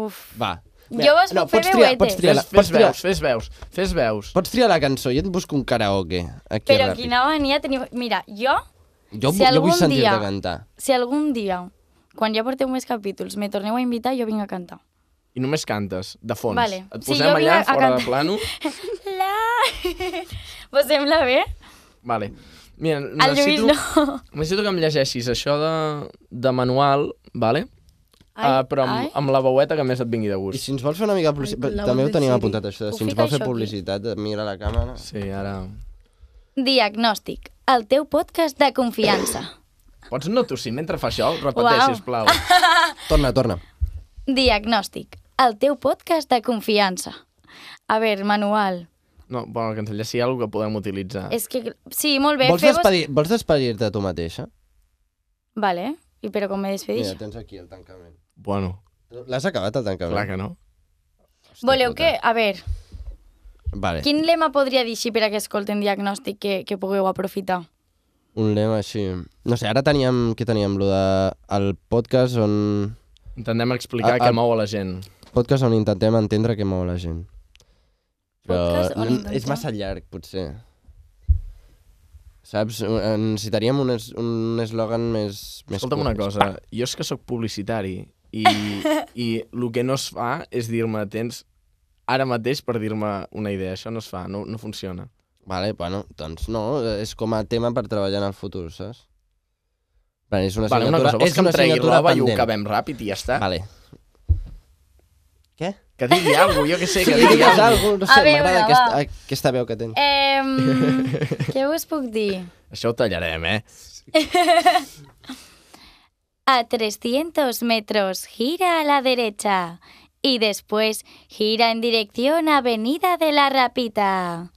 [SPEAKER 3] Uf.
[SPEAKER 1] Va.
[SPEAKER 3] Jo vas
[SPEAKER 1] no,
[SPEAKER 3] puc fer
[SPEAKER 1] pots triar,
[SPEAKER 3] veuetes.
[SPEAKER 1] pots triar, la,
[SPEAKER 2] Fes,
[SPEAKER 1] pots,
[SPEAKER 2] fes
[SPEAKER 1] triar,
[SPEAKER 2] veus, fes veus, fes veus.
[SPEAKER 1] pots triar la cançó, jo et busco un karaoke. Aquí
[SPEAKER 3] Però
[SPEAKER 1] ràpid.
[SPEAKER 3] quina mania teniu... Mira, jo,
[SPEAKER 1] Jo, vu-
[SPEAKER 3] si
[SPEAKER 1] jo vull
[SPEAKER 3] algun
[SPEAKER 1] sentir-te
[SPEAKER 3] dia-
[SPEAKER 1] cantar.
[SPEAKER 3] si algun dia, quan ja porteu més capítols, me torneu a invitar, jo vinc a cantar.
[SPEAKER 2] I només cantes, de fons.
[SPEAKER 3] Vale.
[SPEAKER 2] Et
[SPEAKER 3] Sí,
[SPEAKER 2] posem
[SPEAKER 3] jo vinc
[SPEAKER 2] allà,
[SPEAKER 3] a- a
[SPEAKER 2] fora de
[SPEAKER 3] cantar.
[SPEAKER 2] plano.
[SPEAKER 3] La... Vos sembla bé?
[SPEAKER 2] Vale. Mira,
[SPEAKER 3] El Lluís
[SPEAKER 2] necessito,
[SPEAKER 3] no.
[SPEAKER 2] necessito que em llegeixis això de, de manual, vale?
[SPEAKER 3] Ai,
[SPEAKER 2] Ah, però amb,
[SPEAKER 3] ai.
[SPEAKER 2] amb la veueta que més et vingui de
[SPEAKER 1] I
[SPEAKER 2] gust.
[SPEAKER 1] si ens vols fer una mica de publicitat...
[SPEAKER 4] la
[SPEAKER 1] També ho
[SPEAKER 4] voz de
[SPEAKER 1] tenim
[SPEAKER 4] Siri.
[SPEAKER 1] apuntat, això. de
[SPEAKER 3] Ho
[SPEAKER 1] Si ens
[SPEAKER 3] fica
[SPEAKER 1] vols fer
[SPEAKER 3] això aquí?
[SPEAKER 1] publicitat, mira la càmera.
[SPEAKER 2] Sí, ara...
[SPEAKER 3] Diagnòstic, el teu podcast de confiança.
[SPEAKER 2] Pots no tossir mentre fa això? Repeteix,
[SPEAKER 3] Uau.
[SPEAKER 2] sisplau.
[SPEAKER 1] Torna, torna.
[SPEAKER 3] Diagnòstic, el teu podcast de confiança. A veure, manual.
[SPEAKER 2] No, bueno, que ens lleci alguna que podem utilitzar.
[SPEAKER 3] És que... Sí, molt bé.
[SPEAKER 1] Ah. Vols
[SPEAKER 3] feu-vos-
[SPEAKER 1] despedir- vols despedir-te tu mateixa?
[SPEAKER 3] Vale, i però com me despedís?
[SPEAKER 1] Mira, tens aquí el tancament.
[SPEAKER 2] Bueno,
[SPEAKER 1] L'has acabat, el tancament?
[SPEAKER 2] clar que no.
[SPEAKER 1] Hòstia
[SPEAKER 3] Voleu
[SPEAKER 1] puta.
[SPEAKER 3] que... A veure,
[SPEAKER 1] Vale,
[SPEAKER 3] quin lema podria dir així per a que escolten diagnòstic que, que pugueu aprofitar?
[SPEAKER 1] un lema així... No sé, ara teníem... Què teníem? Lo de... El podcast on...
[SPEAKER 2] Intentem explicar
[SPEAKER 1] Ah,
[SPEAKER 2] què
[SPEAKER 1] ah.
[SPEAKER 2] mou a la gent.
[SPEAKER 1] Podcast on intentem entendre què mou la gent.
[SPEAKER 3] Podcast on
[SPEAKER 1] n-
[SPEAKER 3] intentem-
[SPEAKER 1] és massa llarg, potser. Saps? Un- eh, Necessitaríem un, es, un eslògan més, més
[SPEAKER 2] Escolta'm
[SPEAKER 1] curt.
[SPEAKER 2] una cosa, jo és que sóc publicitari i, i el que no es fa és dir-me tens ara mateix per dir-me una idea. Això no es fa, no, no funciona.
[SPEAKER 1] Vale, bueno, doncs no, és com a tema per treballar en el futur, saps? Vale, és una
[SPEAKER 2] Vale, una
[SPEAKER 1] assignatura,
[SPEAKER 2] cosa, vols
[SPEAKER 1] és
[SPEAKER 2] que em
[SPEAKER 1] una
[SPEAKER 2] tregui
[SPEAKER 1] assignatura
[SPEAKER 2] roba i ho
[SPEAKER 1] pendent.
[SPEAKER 2] acabem ràpid i ja està?
[SPEAKER 1] Vale. Què?
[SPEAKER 2] Que digui alguna cosa, jo què sé, que
[SPEAKER 1] Que
[SPEAKER 2] digui
[SPEAKER 1] digues
[SPEAKER 2] alguna cosa.
[SPEAKER 1] alguna cosa, no
[SPEAKER 3] A
[SPEAKER 1] sé,
[SPEAKER 3] veure,
[SPEAKER 1] m'agrada
[SPEAKER 3] va.
[SPEAKER 1] aquesta, aquesta veu que tens.
[SPEAKER 3] Eh, què us puc dir?
[SPEAKER 2] Això ho tallarem, eh?
[SPEAKER 3] A 300 metros, gira a la derecha. Y después, gira en dirección a Avenida de la Rapita.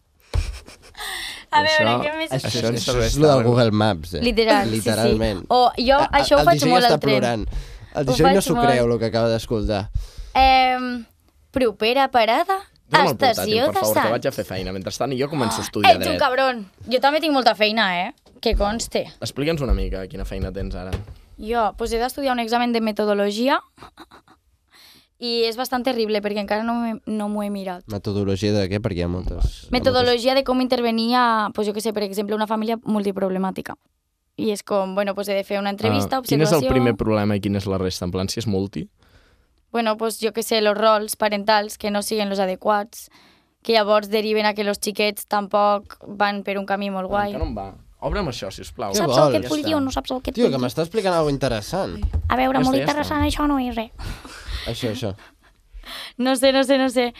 [SPEAKER 3] A veure,
[SPEAKER 2] Això-
[SPEAKER 3] què més...
[SPEAKER 2] això-
[SPEAKER 1] Això,
[SPEAKER 2] ens
[SPEAKER 1] això
[SPEAKER 2] serveix
[SPEAKER 1] és el del
[SPEAKER 2] d'algo.
[SPEAKER 1] Google Maps, eh?
[SPEAKER 3] Literal,
[SPEAKER 1] Literalment.
[SPEAKER 3] sí, sí. O jo
[SPEAKER 1] A- a-
[SPEAKER 3] això ho
[SPEAKER 1] el
[SPEAKER 3] faig
[SPEAKER 1] Digell
[SPEAKER 3] molt
[SPEAKER 1] està
[SPEAKER 3] al tren.
[SPEAKER 1] plorant. El
[SPEAKER 3] Ho
[SPEAKER 1] Digell no
[SPEAKER 3] faig
[SPEAKER 1] s'ho
[SPEAKER 3] molt.
[SPEAKER 1] creu, el que acaba d'escoltar.
[SPEAKER 3] Eh, propera parada,
[SPEAKER 2] Dóna'm el portàtil,
[SPEAKER 3] estació
[SPEAKER 2] per
[SPEAKER 3] de
[SPEAKER 2] favor, que vaig a
[SPEAKER 3] Sants.
[SPEAKER 2] fer feina. Mentrestant, jo començo a estudiar
[SPEAKER 3] Ets un
[SPEAKER 2] dret.
[SPEAKER 3] cabron. Jo també tinc molta feina, eh? Que conste.
[SPEAKER 2] Explica'ns una mica quina feina tens ara.
[SPEAKER 3] Jo, pues he d'estudiar un examen de metodologia i és bastant terrible perquè encara no m'he- no m'ho he mirat.
[SPEAKER 1] Metodologia de què? Perquè hi ha moltes...
[SPEAKER 3] Metodologia de com intervenir a, pues jo que sé, per exemple, una família multiproblemàtica. I és com, bueno, pues he de fer una entrevista,
[SPEAKER 2] Ah,
[SPEAKER 3] observació...
[SPEAKER 2] quin és el primer problema i quin és la resta? En plan, si és multi?
[SPEAKER 3] Bueno, pues jo que sé, els rols parentals que no siguen els adequats, que llavors deriven a que els xiquets tampoc van per un camí molt guai.
[SPEAKER 2] Encara no em va. Obre'm això, sisplau.
[SPEAKER 1] Què
[SPEAKER 3] Saps
[SPEAKER 1] vols?
[SPEAKER 3] el que
[SPEAKER 1] Ja
[SPEAKER 3] et vull
[SPEAKER 2] està.
[SPEAKER 3] dir o no saps el que et
[SPEAKER 1] Tio,
[SPEAKER 3] vull
[SPEAKER 1] que
[SPEAKER 3] dir?
[SPEAKER 1] m'està explicant alguna interessant.
[SPEAKER 3] A veure,
[SPEAKER 2] Ja
[SPEAKER 3] molt
[SPEAKER 2] està, ja
[SPEAKER 3] interessant, això no és res.
[SPEAKER 1] Això, això.
[SPEAKER 3] No sé, no sé, no sé.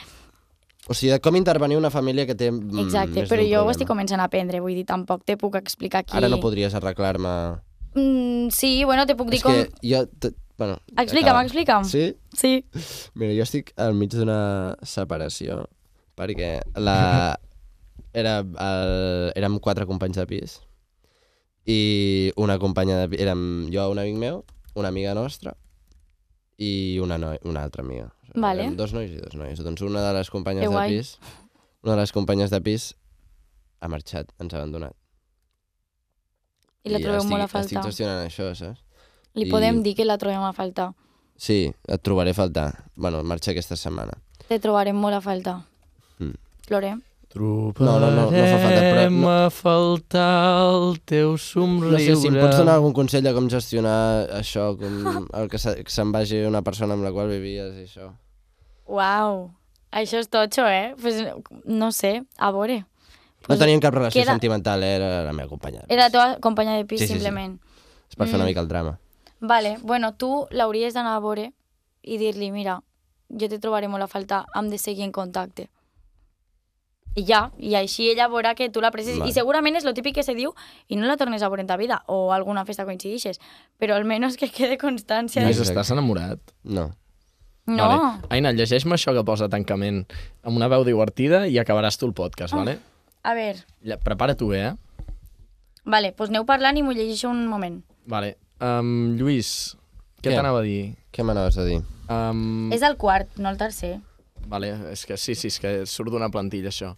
[SPEAKER 1] O sigui, de com intervenir una família que té mm,
[SPEAKER 3] Exacte,
[SPEAKER 1] més
[SPEAKER 3] però
[SPEAKER 1] d'un
[SPEAKER 3] jo ho
[SPEAKER 1] problema.
[SPEAKER 3] estic començant a aprendre, vull dir, tampoc te puc explicar aquí...
[SPEAKER 1] Ara no podries arreglar-me...
[SPEAKER 3] Mm, sí, bueno, te puc dir
[SPEAKER 1] És
[SPEAKER 3] com... Ah.
[SPEAKER 1] que jo... t- Bueno,
[SPEAKER 3] Explica'm,
[SPEAKER 1] acaba.
[SPEAKER 3] explica'm.
[SPEAKER 1] Sí? Eh,
[SPEAKER 3] Sí.
[SPEAKER 1] Mira, jo estic al mig d'una separació perquè la... Era el... érem quatre companys de pis i una companya de pis... Érem jo, un amic meu, una amiga nostra i una, noi, una altra amiga. O sigui,
[SPEAKER 3] Vale.
[SPEAKER 1] Érem dos nois i dos nois. Doncs una de les companyes
[SPEAKER 3] Que
[SPEAKER 1] de
[SPEAKER 3] guai.
[SPEAKER 1] pis... Una de les companyes de pis ha marxat, ens ha abandonat.
[SPEAKER 3] I la trobeu
[SPEAKER 1] estic,
[SPEAKER 3] molt a
[SPEAKER 1] Estic
[SPEAKER 3] faltar.
[SPEAKER 1] gestionant això, saps?
[SPEAKER 3] Li
[SPEAKER 1] i-
[SPEAKER 3] podem dir que la trobem a faltar.
[SPEAKER 1] Sí, et trobaré a faltar. Bueno, marxa aquesta setmana.
[SPEAKER 3] Te trobarem molt a faltar.
[SPEAKER 1] Mm.
[SPEAKER 3] Plorem.
[SPEAKER 2] Trobarem
[SPEAKER 1] No, no, no, no fa falta, però no-
[SPEAKER 2] a faltar el teu somriure.
[SPEAKER 1] No sé si em pots donar algun consell de com gestionar això, com el que, se, que se'n vagi una persona amb la qual vivies i això.
[SPEAKER 3] Uau, això és totxo, eh? Pues, no sé, a veure.
[SPEAKER 1] No
[SPEAKER 3] Pues
[SPEAKER 1] tenien cap relació
[SPEAKER 3] queda-
[SPEAKER 1] sentimental, eh? era la meva companya.
[SPEAKER 3] Era la teva companya de pis,
[SPEAKER 1] Sí,
[SPEAKER 3] sí,
[SPEAKER 1] sí, sí.
[SPEAKER 3] simplement. Sí,
[SPEAKER 1] És per fer una
[SPEAKER 3] Mm.
[SPEAKER 1] mica el drama.
[SPEAKER 3] sí. Vale, bueno, tu l'hauries d'anar a veure i dir-li, mira, jo te trobaré molt a faltar, hem de seguir en contacte. i ja, i així ella veurà que tu l'aprecies.
[SPEAKER 1] Vale.
[SPEAKER 3] I segurament és lo típic que se diu i no la tornes a veure en ta vida, o alguna festa coincidixes, però almenys que quede constància.
[SPEAKER 2] Lluís,
[SPEAKER 3] de-
[SPEAKER 1] Exacte.
[SPEAKER 2] estàs enamorat?
[SPEAKER 1] No.
[SPEAKER 3] No,
[SPEAKER 2] Vale. Aina, llegeix-me això que posa tancament amb una veu divertida i acabaràs tu el podcast, vale?
[SPEAKER 3] a veure,
[SPEAKER 2] Lla- Prepara-t'ho bé, eh?
[SPEAKER 3] vale, doncs aneu parlant i m'ho llegeixo un moment.
[SPEAKER 2] Vale. Um, Lluís, què,
[SPEAKER 1] Què?
[SPEAKER 2] t'anava a dir?
[SPEAKER 1] Què m'anaves a dir?
[SPEAKER 2] Um,
[SPEAKER 1] Mm.
[SPEAKER 3] És el quart, no el tercer.
[SPEAKER 2] Vale, és que sí, sí, és que surt d'una plantilla, això.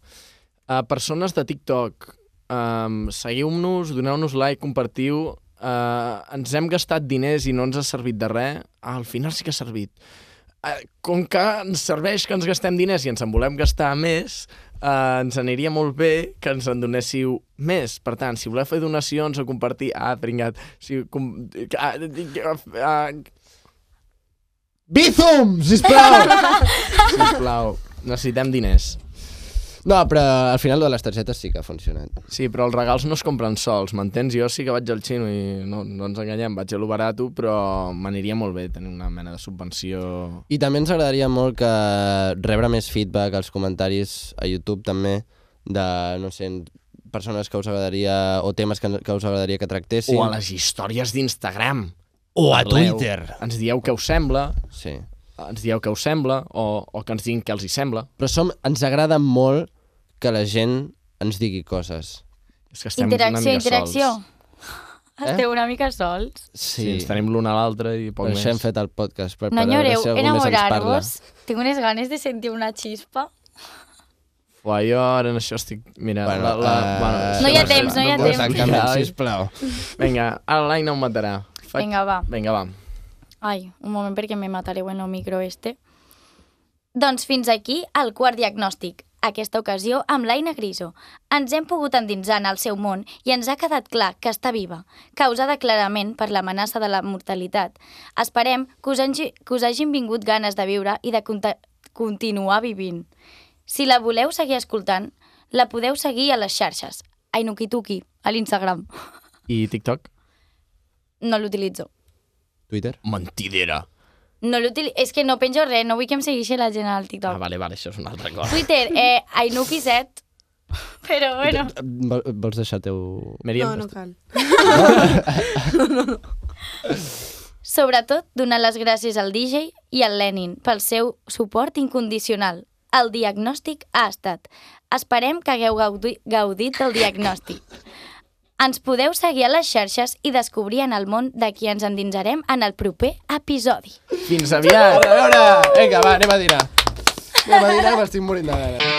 [SPEAKER 2] Uh, persones de TikTok, um, seguiu-nos, doneu-nos like, compartiu. Uh, ens hem gastat diners i no ens ha servit de res. Ah, al final sí que ha servit. Uh, com que ens serveix que ens gastem diners i ens en volem gastar més, uh, ens aniria molt bé que ens en donéssiu més. Per tant, si voleu fer donacions o compartir... Ah, tringat. Si, com... ah, ah, ah,
[SPEAKER 1] Bizum, sisplau!
[SPEAKER 2] sisplau, necessitem diners.
[SPEAKER 1] no, però al final lo de les targetes sí que ha funcionat.
[SPEAKER 2] Sí, però els regals no es compren sols, m'entens? Jo sí que vaig al xino i no, no ens enganyem, vaig a lo barato, però m'aniria molt bé tenir una mena de subvenció...
[SPEAKER 1] I també ens agradaria molt que rebre més feedback als comentaris a YouTube també de, no sé, persones que us agradaria o temes que, que us agradaria que
[SPEAKER 2] Sí.
[SPEAKER 1] tractessin.
[SPEAKER 2] O a les històries d'Instagram.
[SPEAKER 1] o a
[SPEAKER 2] Parleu, Ens dieu què us sembla,
[SPEAKER 1] Sí.
[SPEAKER 2] ens dieu què us sembla, o, o que ens diguin què els hi sembla.
[SPEAKER 1] Però som, ens agrada molt que la gent ens digui coses.
[SPEAKER 2] És que estem una
[SPEAKER 3] Interacció,
[SPEAKER 2] mica
[SPEAKER 3] interacció.
[SPEAKER 2] sols.
[SPEAKER 1] Eh?
[SPEAKER 3] Esteu una mica sols.
[SPEAKER 2] Sí, ens tenim l'un a l'altre i poc
[SPEAKER 1] Per això Doncs hem
[SPEAKER 2] més.
[SPEAKER 1] fet el podcast, per,
[SPEAKER 3] No
[SPEAKER 1] per veure
[SPEAKER 3] enyoreu,
[SPEAKER 1] si algú més ens parla.
[SPEAKER 3] enamorar-vos. Tinc unes ganes de sentir una xispa.
[SPEAKER 2] Uà, jo ara en això estic... Mira, bueno, la, la,
[SPEAKER 1] eh,
[SPEAKER 2] bueno,
[SPEAKER 3] No hi ha
[SPEAKER 2] sí,
[SPEAKER 3] temps,
[SPEAKER 2] va,
[SPEAKER 3] no hi ha
[SPEAKER 2] puc
[SPEAKER 3] temps.
[SPEAKER 2] tancar-me,
[SPEAKER 1] Exactament,
[SPEAKER 2] oi?
[SPEAKER 1] sisplau.
[SPEAKER 2] Vinga, ara l'Aina em matarà. Fa-
[SPEAKER 3] Vinga, va.
[SPEAKER 2] Vinga, va.
[SPEAKER 3] Ai, un moment perquè me matareu en el micro este. Doncs fins aquí el quart diagnòstic. Aquesta ocasió amb l'Aina Griso. Ens hem pogut endinsar en el seu món i ens ha quedat clar que està viva, causada clarament per l'amenaça de la mortalitat. Esperem que us, hagi, que us hagin vingut ganes de viure i de conta- continuar vivint. Si la voleu seguir escoltant, la podeu seguir a les xarxes. Ainukituki, a l'Instagram.
[SPEAKER 2] I TikTok?
[SPEAKER 3] No l'utilitzo.
[SPEAKER 1] Twitter?
[SPEAKER 2] Mentidera.
[SPEAKER 3] No l'utili... És que no penjo res, no vull que em segueixi la gent al TikTok.
[SPEAKER 2] Ah, vale, vale, això és una altra cosa.
[SPEAKER 3] Twitter, eh, Ainuki7, però bueno,
[SPEAKER 2] eh,
[SPEAKER 1] Vol- Vols deixar teu...
[SPEAKER 2] Miriam,
[SPEAKER 4] No, no cal.
[SPEAKER 3] sobretot donar les gràcies al DJ i al Lenin pel seu suport incondicional. El diagnòstic ha estat. Esperem que hagueu gaudi gaudit del diagnòstic. Ens podeu seguir a les xarxes i descobrir en el món de qui ens endinsarem en el proper episodi.
[SPEAKER 2] Fins aviat!
[SPEAKER 1] A veure, vinga, va, anem a dinar. Anem a dinar, m'estic morint de gana.